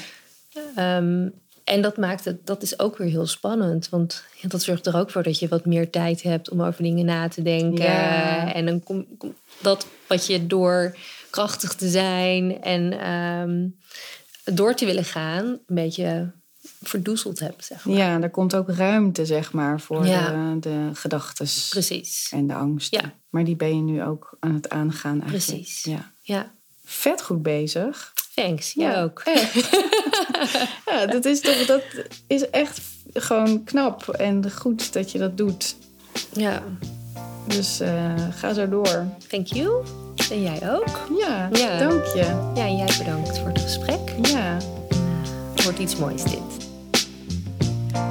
Speaker 2: Ehm, en dat maakt het, dat is ook weer heel spannend. Want ja, dat zorgt er ook voor dat je wat meer tijd hebt om over dingen na te denken.
Speaker 1: Ja.
Speaker 2: En dan komt kom, dat wat je door krachtig te zijn en ehm, door te willen gaan, een beetje verdoezeld hebt. Zeg maar.
Speaker 1: ja er komt ook ruimte, zeg maar, voor
Speaker 2: Ja.
Speaker 1: de, de gedachten
Speaker 2: Precies.
Speaker 1: en de angst.
Speaker 2: Ja.
Speaker 1: Maar die ben je nu ook aan het aangaan eigenlijk.
Speaker 2: Precies.
Speaker 1: Ja.
Speaker 2: Ja,
Speaker 1: Vet goed bezig.
Speaker 2: thanks. Jij
Speaker 1: Ja.
Speaker 2: ook. [laughs]
Speaker 1: Ja, dat is toch, dat is echt gewoon knap en goed dat je dat doet.
Speaker 2: Ja,
Speaker 1: Dus eh, ga zo door.
Speaker 2: thank you. En jij ook.
Speaker 1: Ja,
Speaker 2: Ja.
Speaker 1: dank je.
Speaker 2: Ja, en jij bedankt voor het gesprek.
Speaker 1: Ja.
Speaker 2: Het wordt iets moois dit.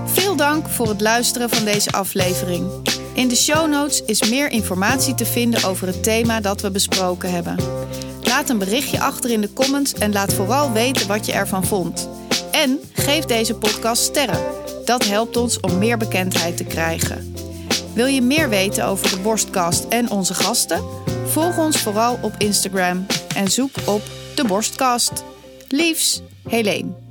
Speaker 1: Veel dank voor het luisteren van deze aflevering. In de show notes is meer informatie te vinden over het thema dat we besproken hebben. Laat een berichtje achter in de comments en laat vooral weten wat je ervan vond. En geef deze podcast sterren. Dat helpt ons om meer bekendheid te krijgen. Wil je meer weten over de Borstkast en onze gasten? Volg ons vooral op Instagram en zoek op de Borstkast. Liefs, Helene.